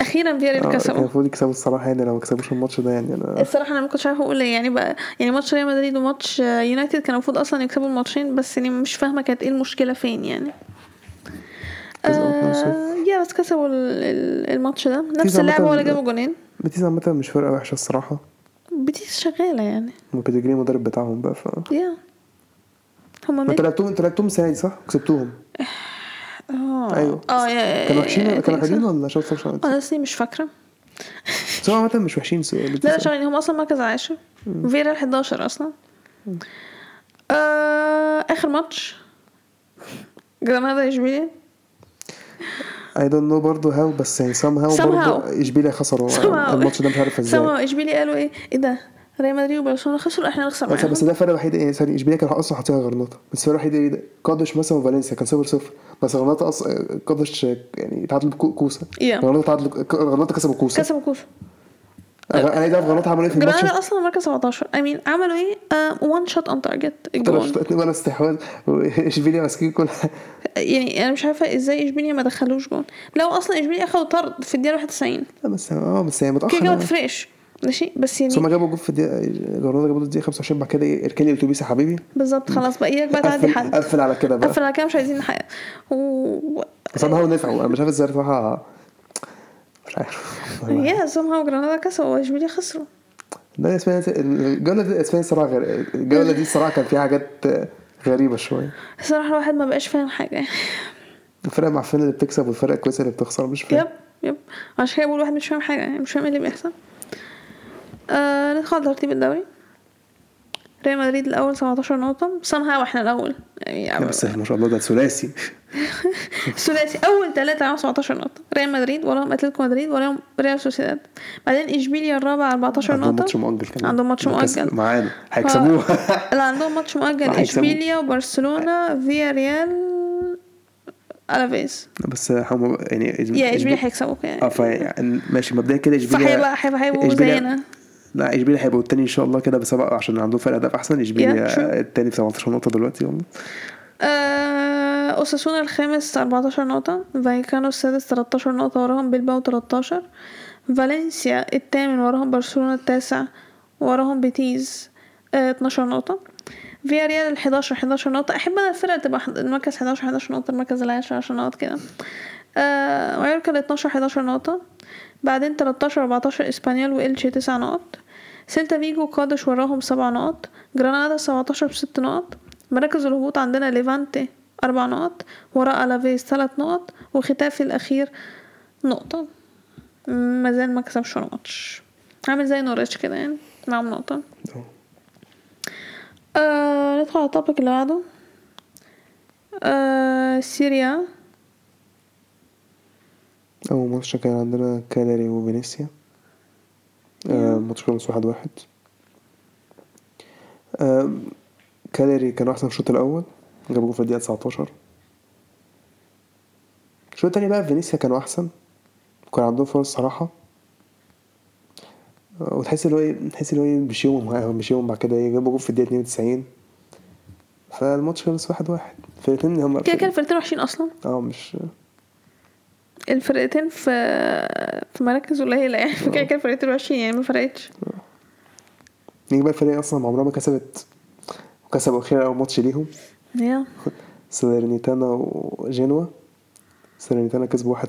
اخيرا فيا ريال
آه، كان
كسبوا
المفروض يكسبوا الصراحه يعني لو ما كسبوش الماتش ده يعني انا
الصراحه انا ما كنتش عارفه اقول ايه يعني بقى يعني ماتش ريال مدريد وماتش آه، يونايتد كانوا المفروض اصلا يكسبوا الماتشين بس يعني مش فاهمه كانت ايه المشكله فين يعني
كسبوا
آه
2-0.
يا بس كسبوا ال- ال- الماتش ده نفس
بيتيز
اللعبه
عامة-
ولا جابوا جونين
بيتيز عامه مش فرقه وحشه الصراحه
بيتيس شغاله يعني
وبيدجري المدرب بتاعهم بقى ف
يا هما
ما انت
مين؟
لعبتهم انت لعبتهم السنه دي صح؟ كسبتوهم
اه
ايوه.
اه يا-
كانوا وحشين
يا-
كانوا
I think
حلوين
so.
ولا شوط شوط؟
اه اصلي مش فاكره
بس هم عامة مش وحشين سو-
لا لا
بيتيز.
شغالين هم اصلا مركز عاشر فيرا 11 اصلا آه اخر ماتش جرانادا اشبيليه
اي دونت نو برضه هاو بس يعني سام هاو
Somehow.
برضه اشبيليا خسروا
سمعوا-
الماتش ده مش عارف ازاي
سمعوا اشبيليا قالوا ايه ايه ده ريال مدريد وبرشلونه خسروا احنا نخسر
بس-
معاهم
بس ده الفرق الوحيد يعني سوري اشبيليا كان اصلا حاطيها غرناطه بس الفرق الوحيد ايه ده قادش مثلا وفالنسيا كان 0 0 بس غرناطه اصلا قادش يعني تعادلوا بكو- كوسه
Yeah.
غرناطه تعادلوا غرناطه كسبوا كوسه
كسبوا كوسه
انا عايز اعرف غرناطه عملوا ايه في الماتش
جرانادا اصلا مركز 17 I mean عملوا ايه وان شوت اون تارجت الجون
طلعت وانا استحواذ واشبيليا ماسكين كل
يعني انا مش عارفه ازاي اشبيليا ما دخلوش جون لو اصلا اشبيليا اخدوا طرد في الدقيقه 91
لا بس اه بس هي
كده كده ما
متاخر
تفرقش ماشي بس يعني
بس هما جابوا جول في الدقيقه جرناطه جابوا الدقيقه 25 بعد كده ايه، اركني الاتوبيس يا حبيبي
بالظبط خلاص بقى اياك بقى تعدي
قفل-
حد
قفل على كده بقى
قفل على كده مش عايزين حاجه و
بس انا هو نفعوا انا مش عارف ازاي بصراحه مش عارف والله.
يا سمها وجرانادا كسبوا واشبيليا خسروا
ده الاسباني الجوله دي الاسباني الصراحه غير الجوله دي الصراحه كان فيها حاجات غريبه شويه
الصراحه الواحد ما بقاش فاهم حاجه
الفرق معفنه اللي بتكسب والفرق الكويسه اللي بتخسر مش فاهم
يب يب عشان كده بقول الواحد مش فاهم حاجه يعني مش فاهم ايه اللي بيحصل آه ندخل على ترتيب الدوري ريال مدريد الاول 17 نقطه سمها واحنا الاول يعني
لا بس ما شاء الله ده ثلاثي
ثلاثي اول ثلاثه معاهم 17 نقطه ريال مدريد وراهم اتلتيكو مدريد وراهم ريال سوسيداد بعدين اشبيليا الرابع 14 نقطه
عندهم ماتش مؤجل كمان
عندهم ماتش
الكاس-
مؤجل
معانا هيكسبوه
لا عندهم ماتش مؤجل
هيكسبوا.
اشبيليا وبرشلونه فيا ريال الافيز
بس هم يعني
يا اشبيليا هيكسبوك يعني
اه فيعني ماشي مبدئيا كده اشبيليا
فهيبقى هيبقوا- هيبقوا
إشبيليا-
زينا
لا اشبيليا هيبقوا التاني ان شاء الله كده بس بقى عشان عندهم فرق اهداف احسن
Yeah, true.
اشبيليا التاني ب 17 نقطه دلوقتي والله
آه، اوساسونا الخامس 14 نقطة فايكانو السادس 13 نقطة وراهم بيلباو 13 فالنسيا الثامن وراهم برشلونة التاسع وراهم بيتيز آه، 12 نقطة فيا ريال ال 11 11 نقطة أحب أنا الفرقة تبقى حد- المركز 11 11 نقطة المركز العاشر 10 نقط كده آه، مايوركا ال 12 11 نقطة بعدين 13 14 اسبانيول وإلشي 9 نقط سيلتا فيجو قادش وراهم سبع نقط جرانادا 17 بست نقط مراكز الهبوط عندنا ليفانتي أربع نقط وراء ألافيز ثلاث نقط وختافي الأخير نقطة مازال ما كسبش ولا ماتش عامل زي نوريتش كده يعني معاهم نقطة
أهو.
آه ندخل على التوبيك اللي بعده آه سيريا
أول ماتش كان عندنا كالاري وفينيسيا آه، ماتش خلص واحد واحد آم، كالاري كان أحسن الشوط الأول جاب جول في الدقيقة 19 الشوط التاني بقى فينيسيا كانوا أحسن كان عندهم فرص صراحة آه، وتحس اللي هو إيه تحس اللي هو إيه مش يومهم آه، مش يومهم بعد كده إيه، جابوا جول في الدقيقة 92 فالماتش خلص واحد واحد فرقتين هما
كده كده الفرقتين وحشين أصلا
اه مش
الفرقتين في في مراكز قليلة يعني فكده كده الفرقتين وحشين يعني ما فرقتش
نيجي بقى الفريق اصلا عمرها ما كسبت وكسبوا اخيرا اول ماتش ليهم
يا
سيرنيتانا وجنوا سيرنيتانا كسبوا 1-0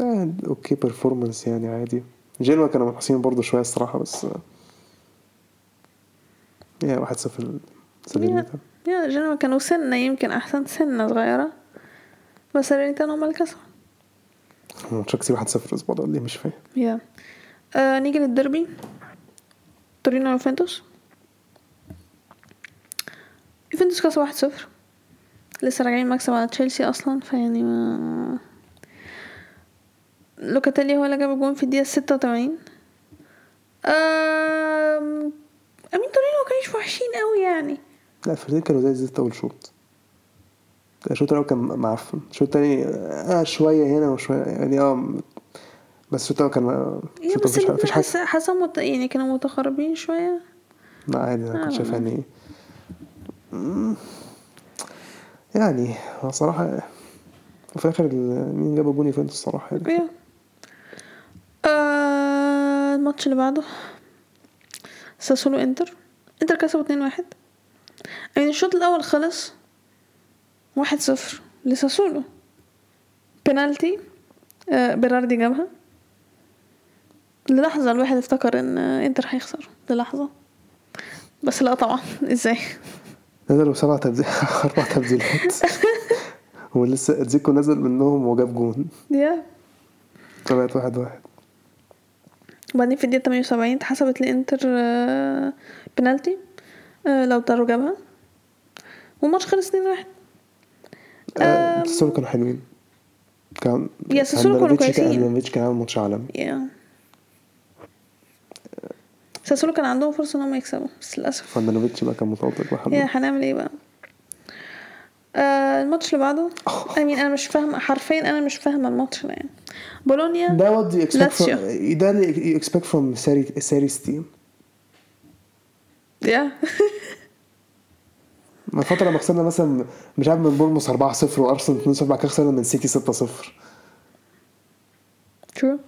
آه، اوكي بيرفورمانس يعني عادي جنوا كانوا منحسين برضه شويه الصراحه بس آه، يا 1-0 ل سيرنيتانا
يا جنوا كانوا سنة يمكن أحسن سنة صغيرة بس رينيتان هما اللي كسبوا
ماتش كسبوا 1-0 الاسبوع ده ولا إيه؟ مش فاهم
يا آه نيجي للديربي تورينو يوفنتوس يوفنتوس كسب واحد صفر لسه راجعين مكسب على تشيلسي اصلا فيعني ما لوكاتيلي هو اللي جاب الجون في الدقيقه 86 أم... امين تورينو ما كانوش وحشين قوي يعني
لا الفريقين كانوا زي الزفت اول شوط الشوط الاول كان معفن الشوط التاني آه شويه هنا وشويه يعني اه بس الشوط الاول كان
يعني
الشوط
بس
الأول مفيش
الاتنين
حاجه
حس- حاسه مت... يعني كانوا متقاربين شويه
لا عادي انا كنت
آه.
شايف يعني مم. يعني هو صراحة وفي الاخر ال- مين جاب جون يوفنتوس الصراحة يعني
ايه آه، الماتش اللي بعده ساسولو انتر انتر كسبوا 2 واحد يعني الشوط الاول خلص واحد صفر لساسولو بنالتي آه بيراردي جابها للحظة الواحد افتكر ان آه، انتر هيخسر للحظة بس لا طبعا ازاي
نزلوا سبع تبديلات اربع تبديلات ولسه زيكو نزل منهم وجاب جون
يا
فبقت واحد واحد
وبعدين في الدقيقة 78 اتحسبت لإنتر آه، بنالتي آه، لو طاروا جابها والماتش خلص 2 واحد
آه،
آم.
ساسولو كانوا حلوين كان
يا ساسولو كانوا
هاندanovic كان-
كويسين.
هاندanovic كان عامل ماتش عالمي
يا ساسولو كان عندهم فرصة إن هم يكسبوا بس للأسف
فاندانوفيتش بقى كان متالق بقى
يا
حلو.
هنعمل إيه بقى آه الماتش اللي بعده أمين أنا مش فاهمة حرفيا أنا مش فاهمة الماتش ده يعني بولونيا
ده what do you expect from
لاتسيو.
ده اللي you expect from Sarri- Sarri's team
يا
من فترة لما خسرنا مثلا مش عارف من بورموس 4-0 وارسنال 2-0 بعد كده خسرنا من سيتي 6-0
ترو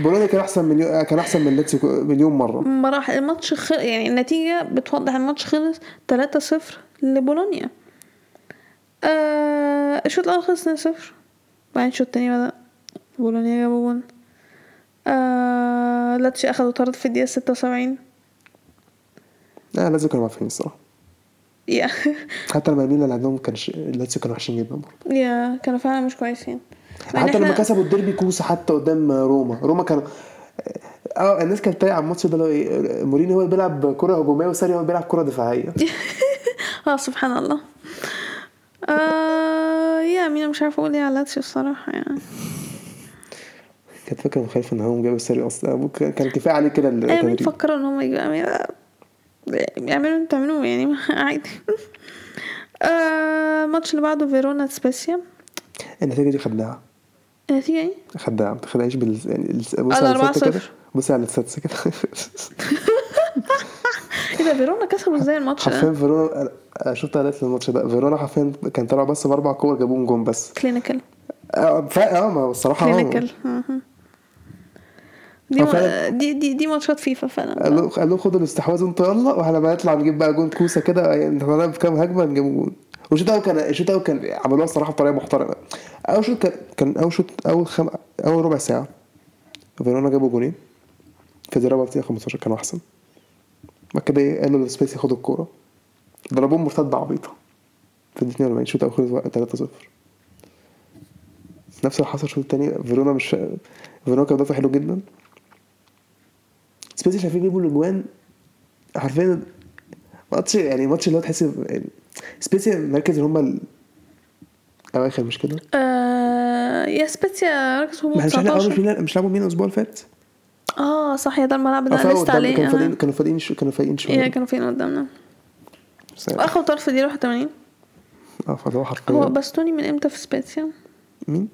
بولونيا كان احسن مليون كان احسن من لاتسيو مليون مره
مراحل الماتش خل... يعني النتيجة بتوضح إن الماتش خلص 3-0 لبولونيا آه... الشوط الأول خلص 2-0 بعدين الشوط التاني بدأ بولونيا جابوا جون آه... لاتشي أخدوا طرد في الدقيقة 76
لا لاتسيو كانوا معفنين الصراحه
يا
حتى لما ميلان عندهم كان ش... لاتسيو كانوا وحشين جدا برضه
يا كانوا فعلا مش كويسين مع إن
حتى لما
إحنا-
كسبوا الديربي كوسه حتى قدام روما روما كانوا اه الناس كانت بتتريق على الماتش ده اللي هو إيه، مورينيو هو اللي بيلعب كره هجوميه وساري هو اللي بيلعب كره دفاعيه
اه سبحان الله آه... يا مين مش عارفة أقول إيه على لاتشي الصراحة يعني
كانت فكره مخالفه ان هو جاب ساري اصلا أبوه كان كان كفايه عليه كده
ايوه مين
التدريب
فكروا ان هم يجوا أمير- يعملوا اللي بتعملوه يعني عادي آه، الماتش اللي بعده فيرونا سبيسيا
النتيجه دي خدناها
النتيجة ايه؟
خدها ما تاخدهاش بال يعني الس- بص
على
على
أربعة
الستة كده
صفر.
بص على الستة كده
ايه ده فيرونا كسبوا ازاي الماتش
حرفيا
ده؟
فيرونا أنا- أنا شفت اعلانات للماتش ده فيرونا حرفيا كان طالع بس باربع كور جابوهم جون بس
كلينيكال
اه ف- آه، ما هو الصراحه
كلينيكال
اه
مهم. دي,
هو
ما-
فعلا-
دي دي دي ماتشات فيفا
قال
فعلا
له قال له خدوا الاستحواذ انتوا يلا واحنا بقى نطلع نجيب بقى جون كوسه كده يعني احنا هنلعب كام هجمه نجيب جون والشوط الاول كان الشوط الاول كان عملوها الصراحه بطريقه محترمه اول شوط كان كان اول شوط اول خم... اول ربع ساعه فيرونا جابوا جونين في الربع بتاع 15 كانوا احسن بعد كده ايه قالوا لسبيس ياخدوا الكوره ضربوهم مرتده عبيطه في ال 42 شوط اول خلص 3 0 نفس اللي حصل الشوط التاني فيرونا مش فيرونا كان دافع حلو جدا سبيسي شايفين يجيبوا الاجوان حرفيا ماتش يعني ماتش اللي هو تحس يعني سبيسي مركز اللي هم الاواخر مش كده؟
آه، يا سبيسيا ركز
ما
هبوط
احنا مش احنا أول مش
19
ميلان- مش لعبوا مين الاسبوع اللي فات؟
اه صح يا ده الملعب ده
آه، فاول
لسه
ضرب-
عليه
كانوا فايقين
آه.
كانوا فايقين شو- كانوا فايقين
يا
شويه
كانوا فين قدامنا
بس يعني-
اخو طرف دي 81
اه فاللي هو
هو
حرفيا
باستوني من امتى في سبيسيا؟
مين؟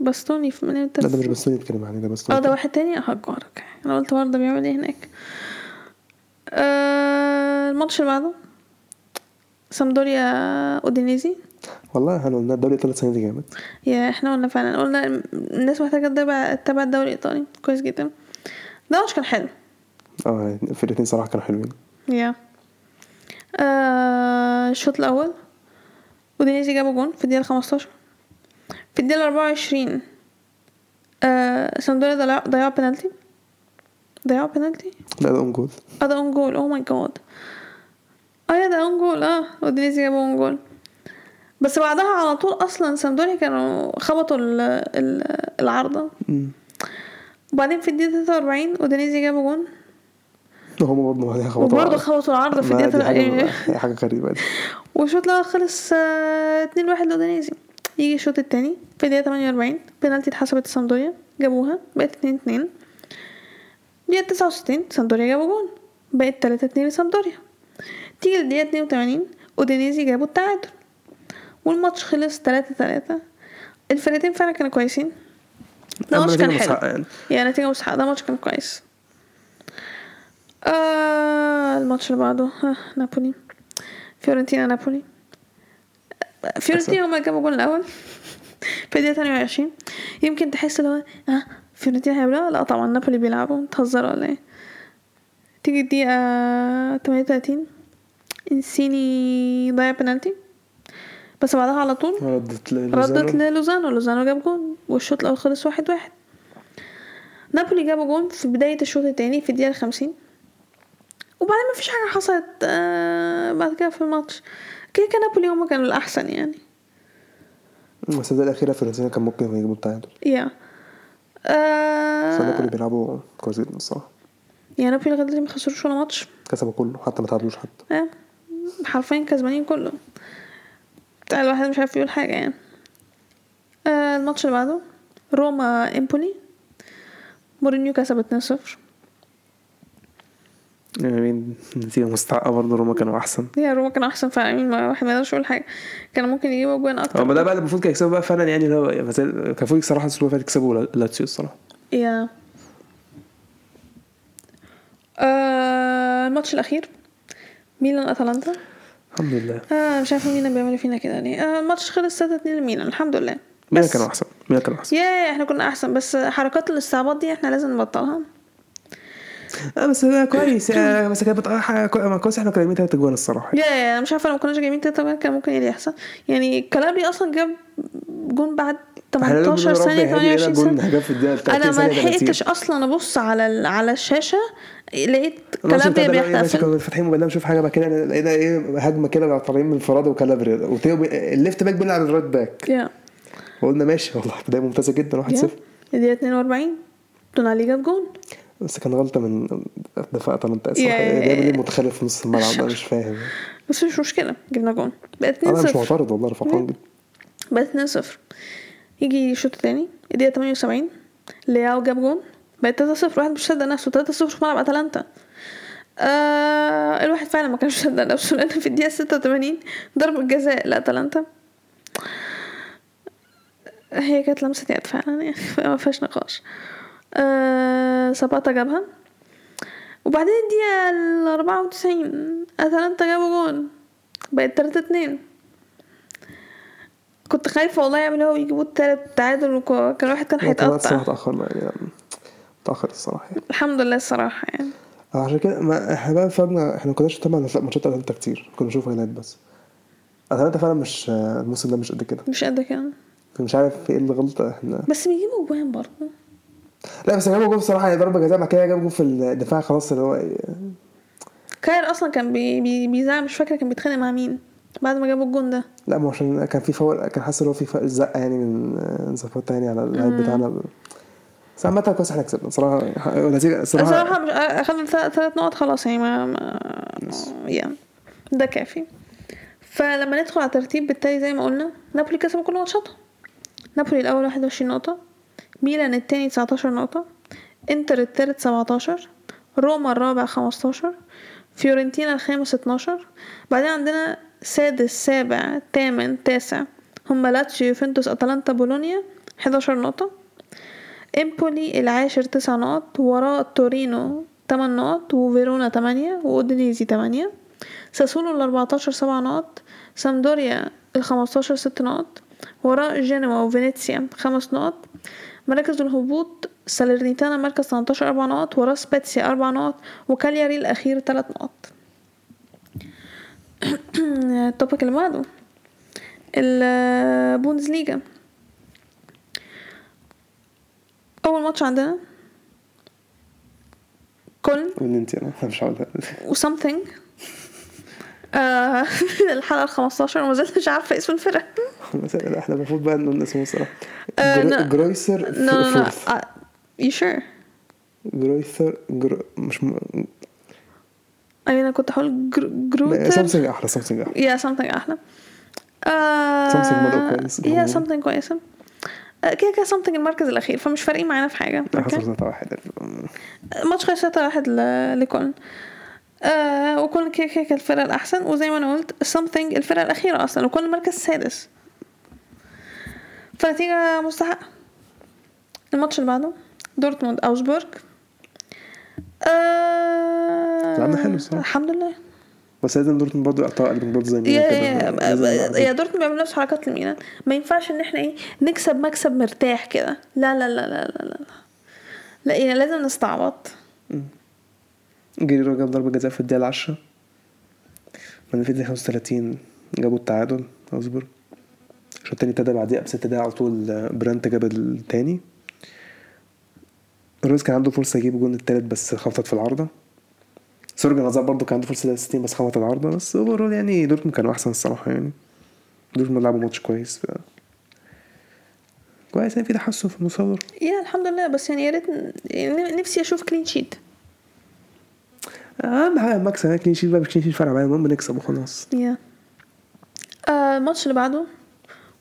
باستوني في من امتى
لا ده مش
في-
بس بيتكلم عليه ده بس
اه ده واحد تاني هجارك انا قلت برضه بيعمل ايه هناك آه الماتش اللي بعده سامدوريا اودينيزي
والله احنا قلنا الدوري ثلاث سنين دي جامد
يا احنا قلنا فعلا قلنا الناس محتاجه تتابع تتابع الدوري الايطالي كويس جدا ده ماتش كان حلو
اه يعني الفرقتين صراحه كانوا حلوين
يا آه، الشوط الاول اودينيزي جابوا جون في الدقيقه 15 في الدقيقه 24 آه سامدوريا ضيع- ضيعوا بنالتي ضيعوا بنالتي
لا ده اون جول
اه ده اون جول او ماي جاد اه يا ده اون جول اه اودينيزي جابوا اون جول بس بعدها على طول اصلا سامدوريا كانوا خبطوا ال ال العارضه
أمم.
وبعدين في الدقيقه 43 اودينيزي جابوا جون
هم برضه بعدها خبطوا
وبرضه
بعض.
خبطوا العارضة في
ما
الدقيقة
دي حاجة-
تل-
دي حاجة غريبة دي
والشوط الأول خلص آه، 2-1 لأودينيزي يجي الشوط التاني في الدقيقة 48 بينالتي اتحسبت لسامدوريا جابوها بقت 2-2 دقيقة 69 سامدوريا جابوا جون بقت 3-2 لسامدوريا تيجي الدقيقة 82 أودينيزي جابوا التعادل والماتش خلص 3-3 الفرقتين فعلا كانوا كويسين ده
أما
ماتش
نتيجة
كان حلو
مستحقة يعني.
يعني نتيجة مستحقة ده ماتش كان كويس آه الماتش اللي بعده آه نابولي فيورنتينا نابولي آه، فيورنتينا هما اللي جابوا الجول الأول في الدقيقة 28 يمكن تحس اللي هو اه فيورنتينا هيعملوها لا طبعا نابولي بيلعبوا بتهزروا ولا ايه تيجي الدقيقة 38 انسيني ضيع بنالتي بس بعدها على طول
ردت ل-
ردت
لوزانو.
للوزانو لوزانو جاب جون والشوط الاول خلص واحد واحد نابولي جابوا جون في بداية الشوط التاني في الدقيقة الخمسين وبعدين مفيش حاجة حصلت آه بعد كده في الماتش كده كان نابولي هما كانوا الأحسن يعني
المسدسات الأخيرة فيورنتينا كان ممكن يجيبوا التعادل
يا
بس نابولي
آه
بيلعبوا كويس جدا الصراحة
يعني نابولي لغاية دلوقتي مخسروش ولا ماتش
كسبوا كله حتى ما تعادلوش حتى
آه حرفيا كسبانين كله بتاع الواحد مش عارف يقول حاجة يعني آه الماتش اللي بعده روما امبولي مورينيو كسب 2-0
يعني مين نتيجة مستحقة برضه روما كانوا أحسن
هي روما كان احسن فعلا مين ما واحد ما يقدرش يقول حاجه كان ممكن يجيبوا اجوان اكتر
هو ما ده بقى اللي المفروض كان يكسبوا بقى فعلا يعني اللي هو بس- كان المفروض الصراحة الأسبوع اللي فات يكسبوا لا- لاتسيو الصراحة
يا آه، الماتش الاخير ميلان اتلانتا
الحمد لله
آه مش عارفه ميلان بيعملوا فينا كده ليه آه الماتش خلص 3 2 لميلان الحمد لله
مين
بس
كانوا أحسن مين كانوا أحسن
يا احنا كنا احسن بس حركات الاستعباط دي احنا لازم نبطلها
اه بس ده كويس آه، بس كانت بتقع حاجة كوي- ما كويس احنا كنا جايبين تلات أجوان الصراحة
يا يا انا مش عارفه لو ما كناش جايبين تلاته جوان كان ممكن ايه اللي يحصل يعني كلابري اصلا جاب جون بعد
احنا لو
18
بنقول يا
ثانيه
رب يا هادي،
28
هنا جون
ثانيه
هجاب في الدقيقة 30
انا ما
ثانية 30.
لحقتش اصلا ابص على ال- على الشاشه لقيت
الماتش بتاع
كلابريا
ده بقى إيه، ماشي،
بيحتفل
كنا فاتحين موبايلنا بنشوف حاجه بقى كده لقينا ايه هجمه كده بقى طالعين من انفراد وكالابريا وتيو بي... الليفت باك بيلعب الرايت باك
يا
وقلنا ماشي والله بدايه ممتازه جدا 1-0
يا. الدقيقه 42 تونالي جاب جون
بس كان غلطه من دفاع اتلانتا
يا-
الصراحه
يا-
ده
يا.
ليه متخلف في نص الملعب انا مش فاهم
بس مش مشكله جبنا جون بقت
انا مش
2-0
معترض والله انا فرحان جدا
بقت 2 0 يجي الشوط التاني الدقيقة 78 لياو جاب جون بقت 3 0 الواحد مش مصدق نفسه 3 0 في ملعب اتلانتا آه الواحد فعلا ما كانش مصدق نفسه لان في الدقيقة 86 ضربة جزاء لاتلانتا هي كانت لمسة يد فعلا يعني ما فيهاش نقاش آه سباتا جابها وبعدين الدقيقة ال 94 اتلانتا جابوا جون بقت 3 2 كنت خايفة والله يعملوا هو يجيبوا التالت تعادل وكان الواحد كان
اتلانتا
هيتقطع
الصراحه اتاخرنا يعني اتاخر الصراحه يعني.
الحمد لله الصراحة يعني
عشان كده ما احنا بقى فاهمنا احنا ما كناش نتابع ماتشات اتلانتا كتير كنا بنشوف هايلايت بس اتلانتا فعلا مش الموسم ده مش قد كده
مش قد كده
مش عارف ايه الغلطه احنا
بس بيجيبوا جوان برضه
لا بس جابوا جول بصراحه يعني ضربه جزاء بعد كده جابوا جول في الدفاع خلاص اللي هو
كاير اصلا كان بي بي بيزعل مش فاكرة كان بيتخانق مع مين بعد ما جابوا الجون ده
لا ما هو عشان كان في فاول كان حاسس ان هو في فاول زقه يعني من من زفوت يعني على اللاعب بتاعنا بس عامة كويس احنا كسبنا صراحة نتيجة
الصراحة
صراحة
مش أخدنا ثلاث ثلاث نقط خلاص يعني ما, ما يعني ده كافي فلما ندخل على الترتيب بالتالي زي ما قلنا نابولي كسبوا كل ماتشاتهم نابولي الأول 21 نقطة ميلان التاني 19 نقطة انتر التالت 17 روما الرابع 15 فيورنتينا الخامس 12 بعدين عندنا سادس سابع تامن تاسع هما لاتشيو يوفنتوس اتلانتا بولونيا 11 نقطة امبولي العاشر تسع نقط وراه تورينو تمن نقط وفيرونا تمانية وأودينيزي تمانية ساسولو الأربعتاشر سبع نقط سامدوريا الخمستاشر ست نقط وراه جنوا وفينيسيا خمس نقط مراكز الهبوط سالرنيتانا مركز 18 أربع نقط وراه سباتسيا أربع نقط وكالياري الأخير تلات نقط التوبيك اللي بعده البوندسليجا أول ماتش عندنا كولن
من انت انا يعني. مش هقولها
وسامثينج آه، الحلقة الخمستاشر وما زلت مش عارفة اسم الفرقة
لا، احنا المفروض بقى نقول اسمه الصراحة
آه، لا.
جرو- جرويسر
نو نو
فورث
نو يو شور
جرويسر جرو مش م...
أي انا كنت هقول جر-
لا،
جروتر
سامسونج احلى سامسونج احلى
يا سامثينج احلى آه،
Something بدأ كويس.
يا سامثينج كويسه آه، كده كده سامثينج المركز الاخير فمش فارقين معانا في حاجه
حصل
اوكي
ثلاثة واحد
ماتش خسر 3 واحد ل- لكولن آه وكولن كده كده كانت الفرقه الاحسن وزي ما انا قلت سامثينج الفرقه الاخيره اصلا وكولن مركز سادس فنتيجه مستحقه الماتش اللي بعده دورتموند اوزبورج آه
لعبنا حلو الصراحة.
الحمد لله
بس لازم دورتموند برضه يقطعوا قلبهم برضه زي ما
يا
كده. لازم
يا- يا
يقطعوا.
دورتموند بيعمل نفس حركات الميلان ما ينفعش ان احنا ايه نكسب مكسب مرتاح كده لا لا لا لا لا لا لا يعني لازم نستعبط
جريرو جاب ضربة جزاء في الدقيقة 10 بعدين في الدقيقة 35 جابوا التعادل اصبر الشوط التاني ابتدى بعديها بست دقايق على طول آه، برانت جاب التاني رويز كان عنده فرصة يجيب جون التالت بس خبطت في العارضة سورج نزار برضه كان عنده فرصة دقيقة 60 بس خبطت العارضة بس اوفرول يعني دورتموند كانوا أحسن الصراحة يعني دورتموند لعبوا ماتش كويس ف... كويس يعني في تحسن في المصور
يا الحمد لله بس يعني يا ريت ن- يعني نفسي اشوف كلين شيت
أهم حاجة المكسب يعني كلين شيت بقى مش كلين شيت فارقة معايا المهم نكسب وخلاص
يا آه، الماتش اللي بعده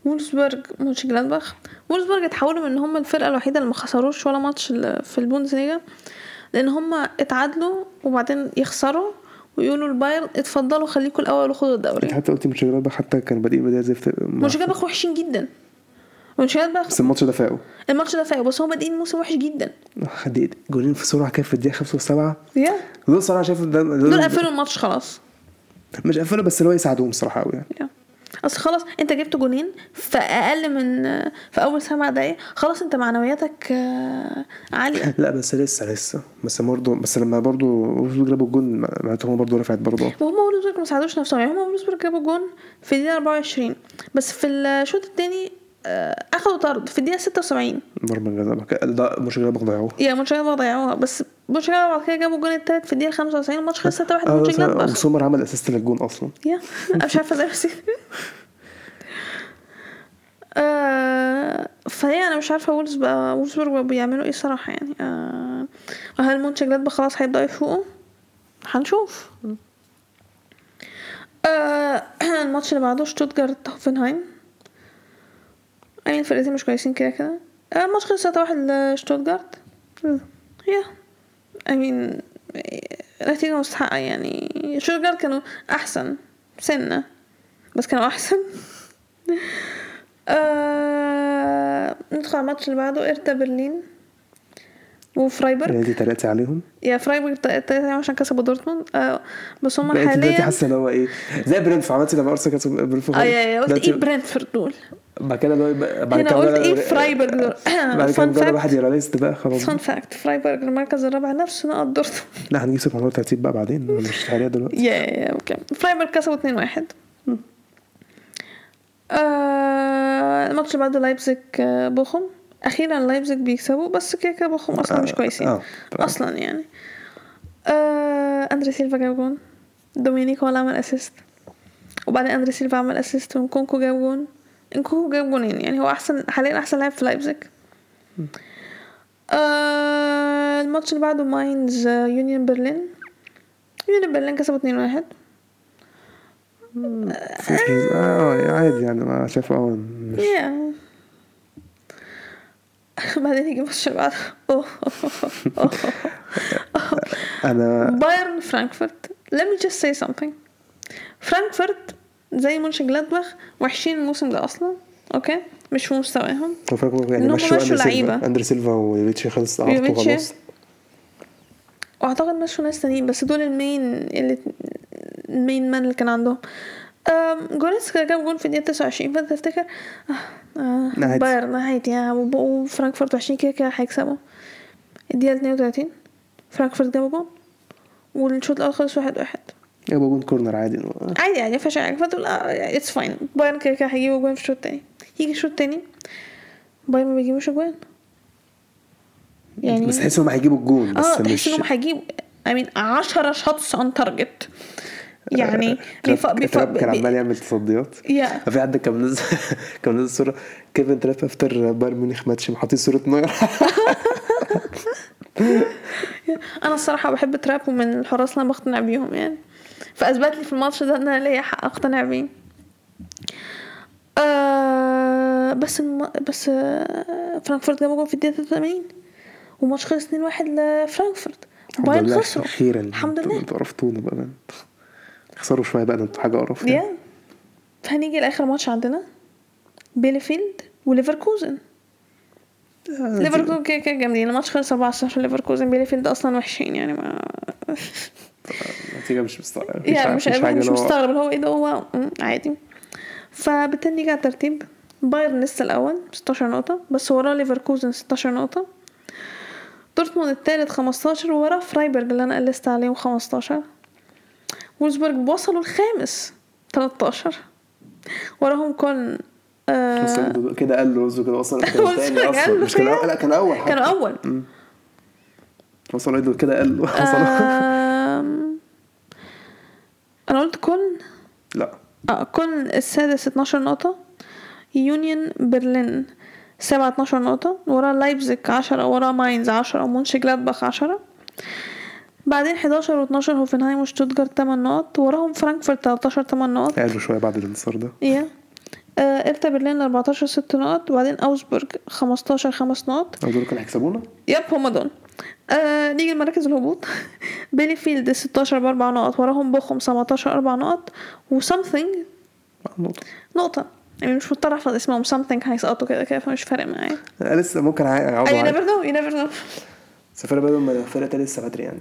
وولفسبرج ماتش جلادباخ وولفسبرج اتحولوا من ان هم الفرقه الوحيده اللي ما خسروش ولا ماتش ال- في البوندسليجا لان هم اتعادلوا وبعدين يخسروا ويقولوا البايرن اتفضلوا خليكم الاول وخدوا الدوري
انت يعني حتى قلت مش بقى حتى كان بادئين بدايه زي فت- مع-
مونشنجلادباخ وحشين جدا مونشنجلادباخ
بس الماتش ده فاقوا
الماتش ده فايق بس هم بادئين موسم وحش جدا
خدت جولين في سرعه كده في الدقيقه 5 و7
يا
دول الصراحه شايف ده
دول قفلوا الماتش خلاص
مش قفلوا بس اللي هو يساعدوهم الصراحه قوي يعني
يا. اصل خلاص انت جبت جونين في اقل من في اول سبع دقايق خلاص انت معنوياتك آه، عاليه
لا بس لسه لسه بس برضه بس لما برضه وولفسبورج جابوا الجون معناتهم برضه رفعت برضه
وهم وولفسبرج ما ساعدوش نفسهم يعني هم وولفسبرج جابوا جون في الدقيقه 24 بس في الشوط الثاني اخدوا طرد في الدقيقه 76
ضربه جزاء بقى- ده مش غير ضيعوها
يا مونشنجلادباخ ضيعوها بس مونشنجلادباخ بعد كده جابوا الجون الثالث في الدقيقه 95 الماتش خلص 3 1
آه،
مونشنجلادباخ
وسومر عمل اسيست للجون اصلا
يا انا مش عارفه ازاي نسيت آه، فهي انا مش عارفه وولز بقى وولزبورج بقى بيعملوا ايه صراحه يعني آه، هل مونشنجلاد بقى خلاص هيبداوا يفوقوا هنشوف آه، الماتش اللي بعده شتوتجارت هوفنهايم يعني الفرقتين مش كويسين كده كده آه، الماتش خلص 3-1 لشتوتجارت يا I mean نتيجة مستحقة يعني شوتجارت كانوا أحسن سنة بس كانوا أحسن آه... ندخل على الماتش اللي بعده إرتا برلين وفرايبرج
يعني دي تلاتة عليهم
يا فرايبرج تق- تق- عشان كسبوا دورتموند آه بس هم
بقيت دلوقتي
حاليا
حاسه ان هو ايه زي برنتفورد عملت لما ارسنال كسب برنتفورد
اه يا يا قلت ايه
دلوقتي-
برنتفورد دول
بعد كده اللي هو يبقى- بعد
هنا
كده
قلت
بقى-
إيه فرايبورج دول؟
بعد كده
Fun
بقى
fact.
الواحد يراليست بقى خلاص
فان فاكت فرايبرج المركز الرابع نفس نقط دورتموند
لا هنجيب سيرة موضوع الترتيب بقى بعدين أنا مش حاليا دلوقتي
يا يا يا اوكي فرايبورغ كسبوا 2 1 آه الماتش اللي بعده لايبزيج آه، بوخم اخيرا لايبزيج بيكسبوا بس كده كده بوخم اصلا مش
آه،
كويسين
آه، طبعاً.
اصلا يعني آه اندري سيلفا جاب جون دومينيك هو اللي عمل اسيست وبعدين اندري سيلفا عمل اسيست ونكونكو جاب جون انكونكو جاب جونين يعني هو احسن حاليا احسن لاعب في لايبزيج آه الماتش اللي بعده ماينز آه، يونيون برلين يونيون برلين كسبوا 2 1
فكرة- اه عادي يعني ما شايف اه مش-
يا بعدين يجي الماتش اللي بعده أوه.
انا
بايرن فرانكفورت let me just say something فرانكفورت زي مونشن جلادباخ وحشين الموسم ده اصلا اوكي مش في مستواهم
هو فاكر يعني
إن هم
مشوا
مشوا
اندر سيلفا
لعيبة.
اندر سيلفا ويوفيتش خلص اعرفته
يوفيتش.
خلاص
واعتقد مشوا ناس تانيين بس دول المين اللي المين مان اللي كان عندهم أم، جوريسكا جاب جون في الدقيقة 29 فانت تفتكر آه، آه
عادي.
بايرن عادي يعني وب- وفرانكفورت وحشين كده كده هيكسبوا الدقيقة 32 فرانكفورت جابوا جون والشوط الأول خلص واحد واحد
جابوا جون كورنر عادي
عادي يعني عادي مفيهاش حاجة فتقول اه اتس فاين بايرن كده كده هيجيبوا جوان في الشوط التاني يجي الشوط التاني بايرن ما بيجيبوش جوان
بس تحس انهم هيجيبوا الجون
اه
بس
يعني تحس
مش
انهم هيجيبوا I mean 10 شوتس اون تارجت يعني بيفا
تراب-
بيفا
تراب آه، كان عمال
بي-
يعمل تصديات
يا.
في عندك كان منزل كان منزل صوره كيفن تراب افتر بايرن ميونخ ماتش حاطين صوره نوير
انا الصراحه بحب تراب ومن الحراس اللي انا بقتنع بيهم يعني فاثبت لي في الماتش ده ان انا ليا حق اقتنع بيه آه بس الم... بس آه فرانكفورت جابوا جول في الدقيقه 83 والماتش خلص 2-1 لفرانكفورت
الحمد
بايرن
لله
خسروا
اخيرا
الحمد
انتوا-
لله
انتوا قرفتونا بقى ده انتوا خسروا شويه بقى ده انتوا حاجه قرف يعني.
يا فهنيجي لاخر ماتش عندنا بيليفيلد وليفركوزن
آه،
ليفركوزن كده كده جامدين الماتش خلص 4-0 ليفركوزن بيليفيلد اصلا وحشين يعني ما
النتيجه مش مستغرب مش,
يعني
عارف-
مش
حاجه
مش
اللي هو-
مستغرب اللي هو ايه ده هو مم، عادي فبالتالي نيجي على الترتيب بايرن لسه الاول 16 نقطه بس وراه ليفركوزن 16 نقطه دورتموند الثالث 15 ووراه فرايبرج اللي انا قلست عليهم 15 وولزبورج وصلوا الخامس 13 وراهم كولن
بس
آه يعني
كده- كده قال له رزق كده وصل كان
قال
التاني
له
اصلا مش كان
كده.
اول لا كان اول
كانوا
حتى
اول
وصل له كده قال
آه.
له وصل
آم، انا قلت كولن
لا
اه كولن السادس 12 نقطة يونيون برلين سبعة 12 نقطة وراه لايبزيج 10 وراه ماينز 10 ومونش جلادباخ 10 بعدين 11 و12 هوفنهايم وشتوتجارت 8 نقط وراهم فرانكفورت 13 8 نقط
قال له شويه بعد الانتصار ده
يا آه، ارتا برلين 14 6 نقط وبعدين اوزبورج 15 5 نقط
هو دول كانوا هيكسبونا
يب هما دول آه نيجي لمراكز الهبوط بيلي فيلد 16 باربع نقط وراهم بوخم 17 اربع نقط وسمثينج
آه، نقطة.
نقطة يعني مش مضطر احفظ اسمهم something هيسقطوا كده كده فمش فارق معايا
انا لسه ممكن اعوض
you
عادي
never know you never know
بس الفرق بينهم وبين الفرقه التانية لسه بدري يعني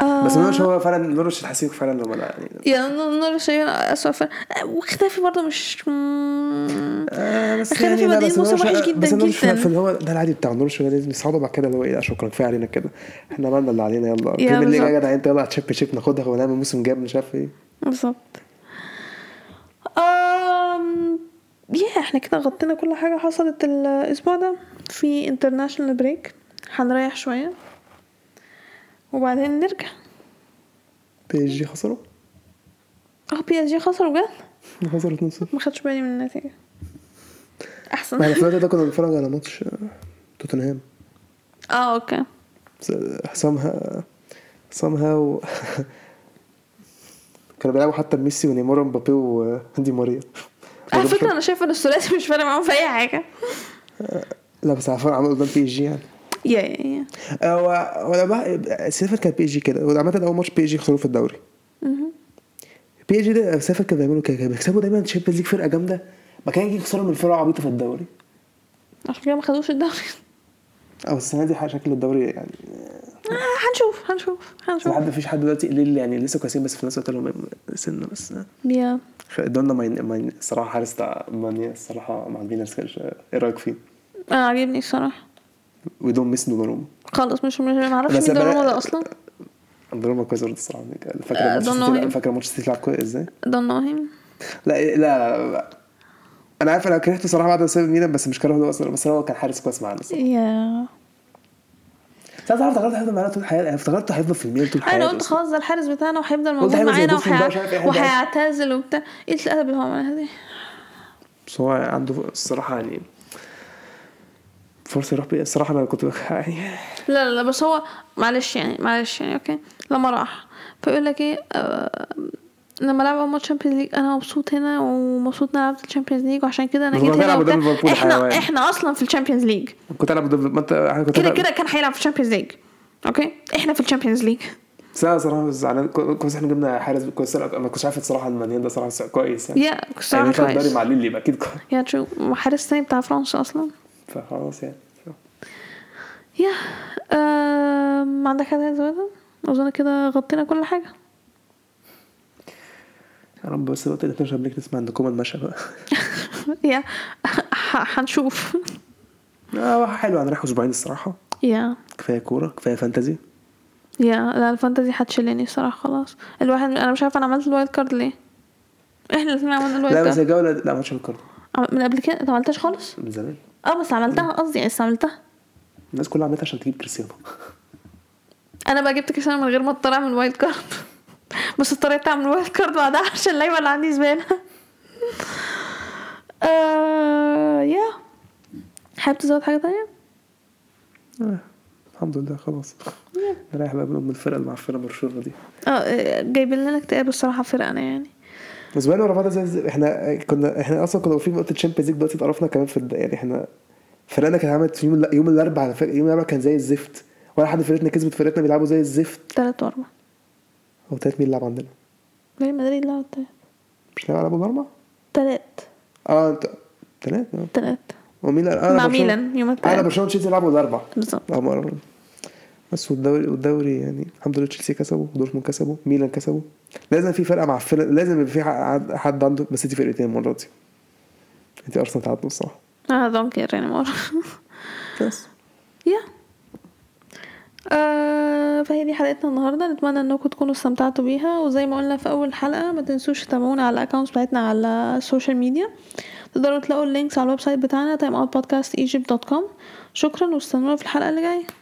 آه،
بس نورش هو فعلا نورش الحسيق فعلا لما لا يعني
يا نور شيء أسوأ فرق آه، واختفي برضه مش مم.
آه، بس
خلينا في
يعني لا،
بداية
بس
الموسم
نورش-
وحش جدا
بس نورش
جدا.
في اللي هو ده العادي بتاع نورش هو لازم يصعدوا بعد كده اللي هو ايه لا شكرا كفايه علينا كده احنا عملنا اللي علينا يلا بريمير ليج يا
بالظبط.
جدع انت يلا هتشيب شيب ناخدها ونعمل موسم جاب مش عارف ايه
بالظبط آم، يا احنا كده غطينا كل حاجة حصلت الأسبوع ده في international break هنريح شوية وبعدين نرجع
بي اس جي خسروا
اه بي اس جي خسروا بجد
خسروا 2-0
ما خدتش بالي من النتيجة احسن
ما احنا في الوقت ده كنا بنتفرج على ماتش آه، توتنهام
اه اوكي
سامها سامها و... كانوا بيلعبوا حتى ميسي ونيمار ومبابي ودي ماريا
على فكرة أنا شايفة إن الثلاثي مش فارق معاهم في أي حاجة
لا بس عارفين عملوا قدام بي اس جي يعني
يا يا يا
هو ولا بقى سيفر كان بي اس جي كده وعامة أول ماتش بي اس جي خسروه في الدوري بي اس جي ده سيفر كان بيعملوا كده كان بيكسبوا دايما تشامبيونز ليج فرقة جامدة ما كان يجي يخسروا من فرقة عبيطة في الدوري
عشان كده ما خدوش الدوري
أو السنة دي شكل الدوري يعني
آه هنشوف هنشوف هنشوف
لحد مفيش حد دلوقتي قليل يعني لسه كويسين بس في نفس الوقت لهم سنة بس
يا
دولنا ماين ماين الصراحه حارس بتاع مانيا الصراحه مع البينا سكيرش ايه رايك فيه؟
أنا عاجبني الصراحة
ودون ميسي دوناروما
خالص مش مش ما اعرفش
بس
مين
بلا-
دوناروما ده اصلا
دوناروما كويس برضه الصراحه
آه،
فاكر ماتش
دوناروما.
السيتي- فاكر ماتش السيتي لعب كويس ازاي؟
دوناهم
لا لا لا, لا. انا عارف انا كرهته صراحه بعد ما ساب ميلان بس مش كرهه هو اصلا بس هو كان حارس كويس معانا الصراحه
يا
ساعات أنا افتكرت هيفضل معانا طول الحياه أنا افتكرته هيفضل في الميلان طول
انا
حياته
قلت
أصلاً.
خلاص ده الحارس بتاعنا وهيفضل موجود
هيبقى زي
معانا
دوسون ده، مش عارف إيه،
وهيع-
هيبقى-
وهيعتزل وبتاع ايه الادب اللي هو عملها دي
بس هو عنده الصراحه يعني فرصه يروح بيها الصراحه انا كنت يعني
لا لا لا بس هو معلش يعني معلش يعني اوكي لما راح فيقول لك ايه آه لما لعب اول ماتش تشامبيونز ليج انا مبسوط هنا ومبسوط اني لعبت التشامبيونز ليج وعشان كده انا
بس
جيت
هو
هنا
هيلعب قدام
وبتاع.
ليفربول
احنا
حيوان.
احنا اصلا في الشامبيونز ليج
كنت العب ضد- ما انت أنا كنت
كده
ألعب-
كده كان هيلعب في الشامبيونز ليج اوكي احنا في الشامبيونز ليج
بس انا صراحه مش زعلان كو- كويس احنا جبنا حارس كويس انا ما كنتش عارف الصراحه ان مانيان ده صراحه كويس يعني
يا صراحه
يعني كان داري
كويس
مع ليلي يبقى اكيد كويس
يا ترو وحارس تاني بتاع فرنسا اصلا
فخلاص يعني
يا آه ما عندك حاجه عايز تزودها؟ اظن كده غطينا كل حاجه
يا رب بس الوقت اللي بنشرب ليك نسمع ان كومان مشى بقى
يا ح- هنشوف
اه حلو هنريح اسبوعين الصراحه
يا
كفايه كوره كفايه فانتزي
يا لا الفانتازي هتشلني الصراحه خلاص الواحد انا مش عارفه انا عملت الوايلد كارد ليه احنا الاثنين عملنا
لا
الوايلد
بس
كارد
الجوله لا ماتش الكوره
عم- من قبل كده انت ما عملتهاش خالص
من زمان
اه بس عملتها قصدي يعني بس عملتها
الناس كلها عملتها عشان تجيب كريستيانو
انا بقى جبت كريستيانو من غير ما اضطر اعمل وايلد كارد بس اضطريت اعمل وايلد كارد بعدها عشان اللعيبه اللي عندي زباله آه يا حابب تزود حاجه تانية؟
آه. الحمد لله خلاص
Yeah.
نريح بقى من الفرقه المعفنه برشلونه دي
اه جايبين لنا اكتئاب الصراحه فرقنا يعني
الاسبوعين ورا بعض زي الزفت. احنا كنا احنا اصلا كنا واقفين نقطه تشامبيونز ليج دلوقتي اتقرفنا كمان في الد- يعني احنا فرقنا كانت عملت في يوم الل- يوم الاربعاء على فكره يوم الاربعاء كان زي الزفت ولا حد فرقتنا كسبت فرقتنا بيلعبوا زي الزفت
تلات واربعة
هو تالت مين اللي لعب عندنا؟
ريال مدريد لعب تلات
مش لعب على ابو الاربعاء؟
تلات
اه انت تلات آه.
تلات
ومين اللي- آه،
مع
برشلونة-
ميلان يوم التلات.
انا برشلونه تشيلسي لعبوا الاربعاء
بالظبط
اه مرة. بس والدوري والدوري يعني الحمد لله تشيلسي كسبوا دورتموند كسبوا ميلان كسبوا لازم في فرقه معفنه لازم يبقى في ح- حد عنده بس انت فرقتين المره دي انت ارسنال تعادلوا الصراحه
انا دونت كير اني مور
بس
يا آه، فهي دي حلقتنا النهارده نتمنى انكم تكونوا استمتعتوا بيها وزي ما قلنا في اول حلقه ما تنسوش تتابعونا على الاكونتس بتاعتنا على السوشيال ميديا تقدروا تلاقوا اللينكس على الويب سايت بتاعنا timeoutpodcastegypt.com شكرا واستنونا في الحلقه اللي جايه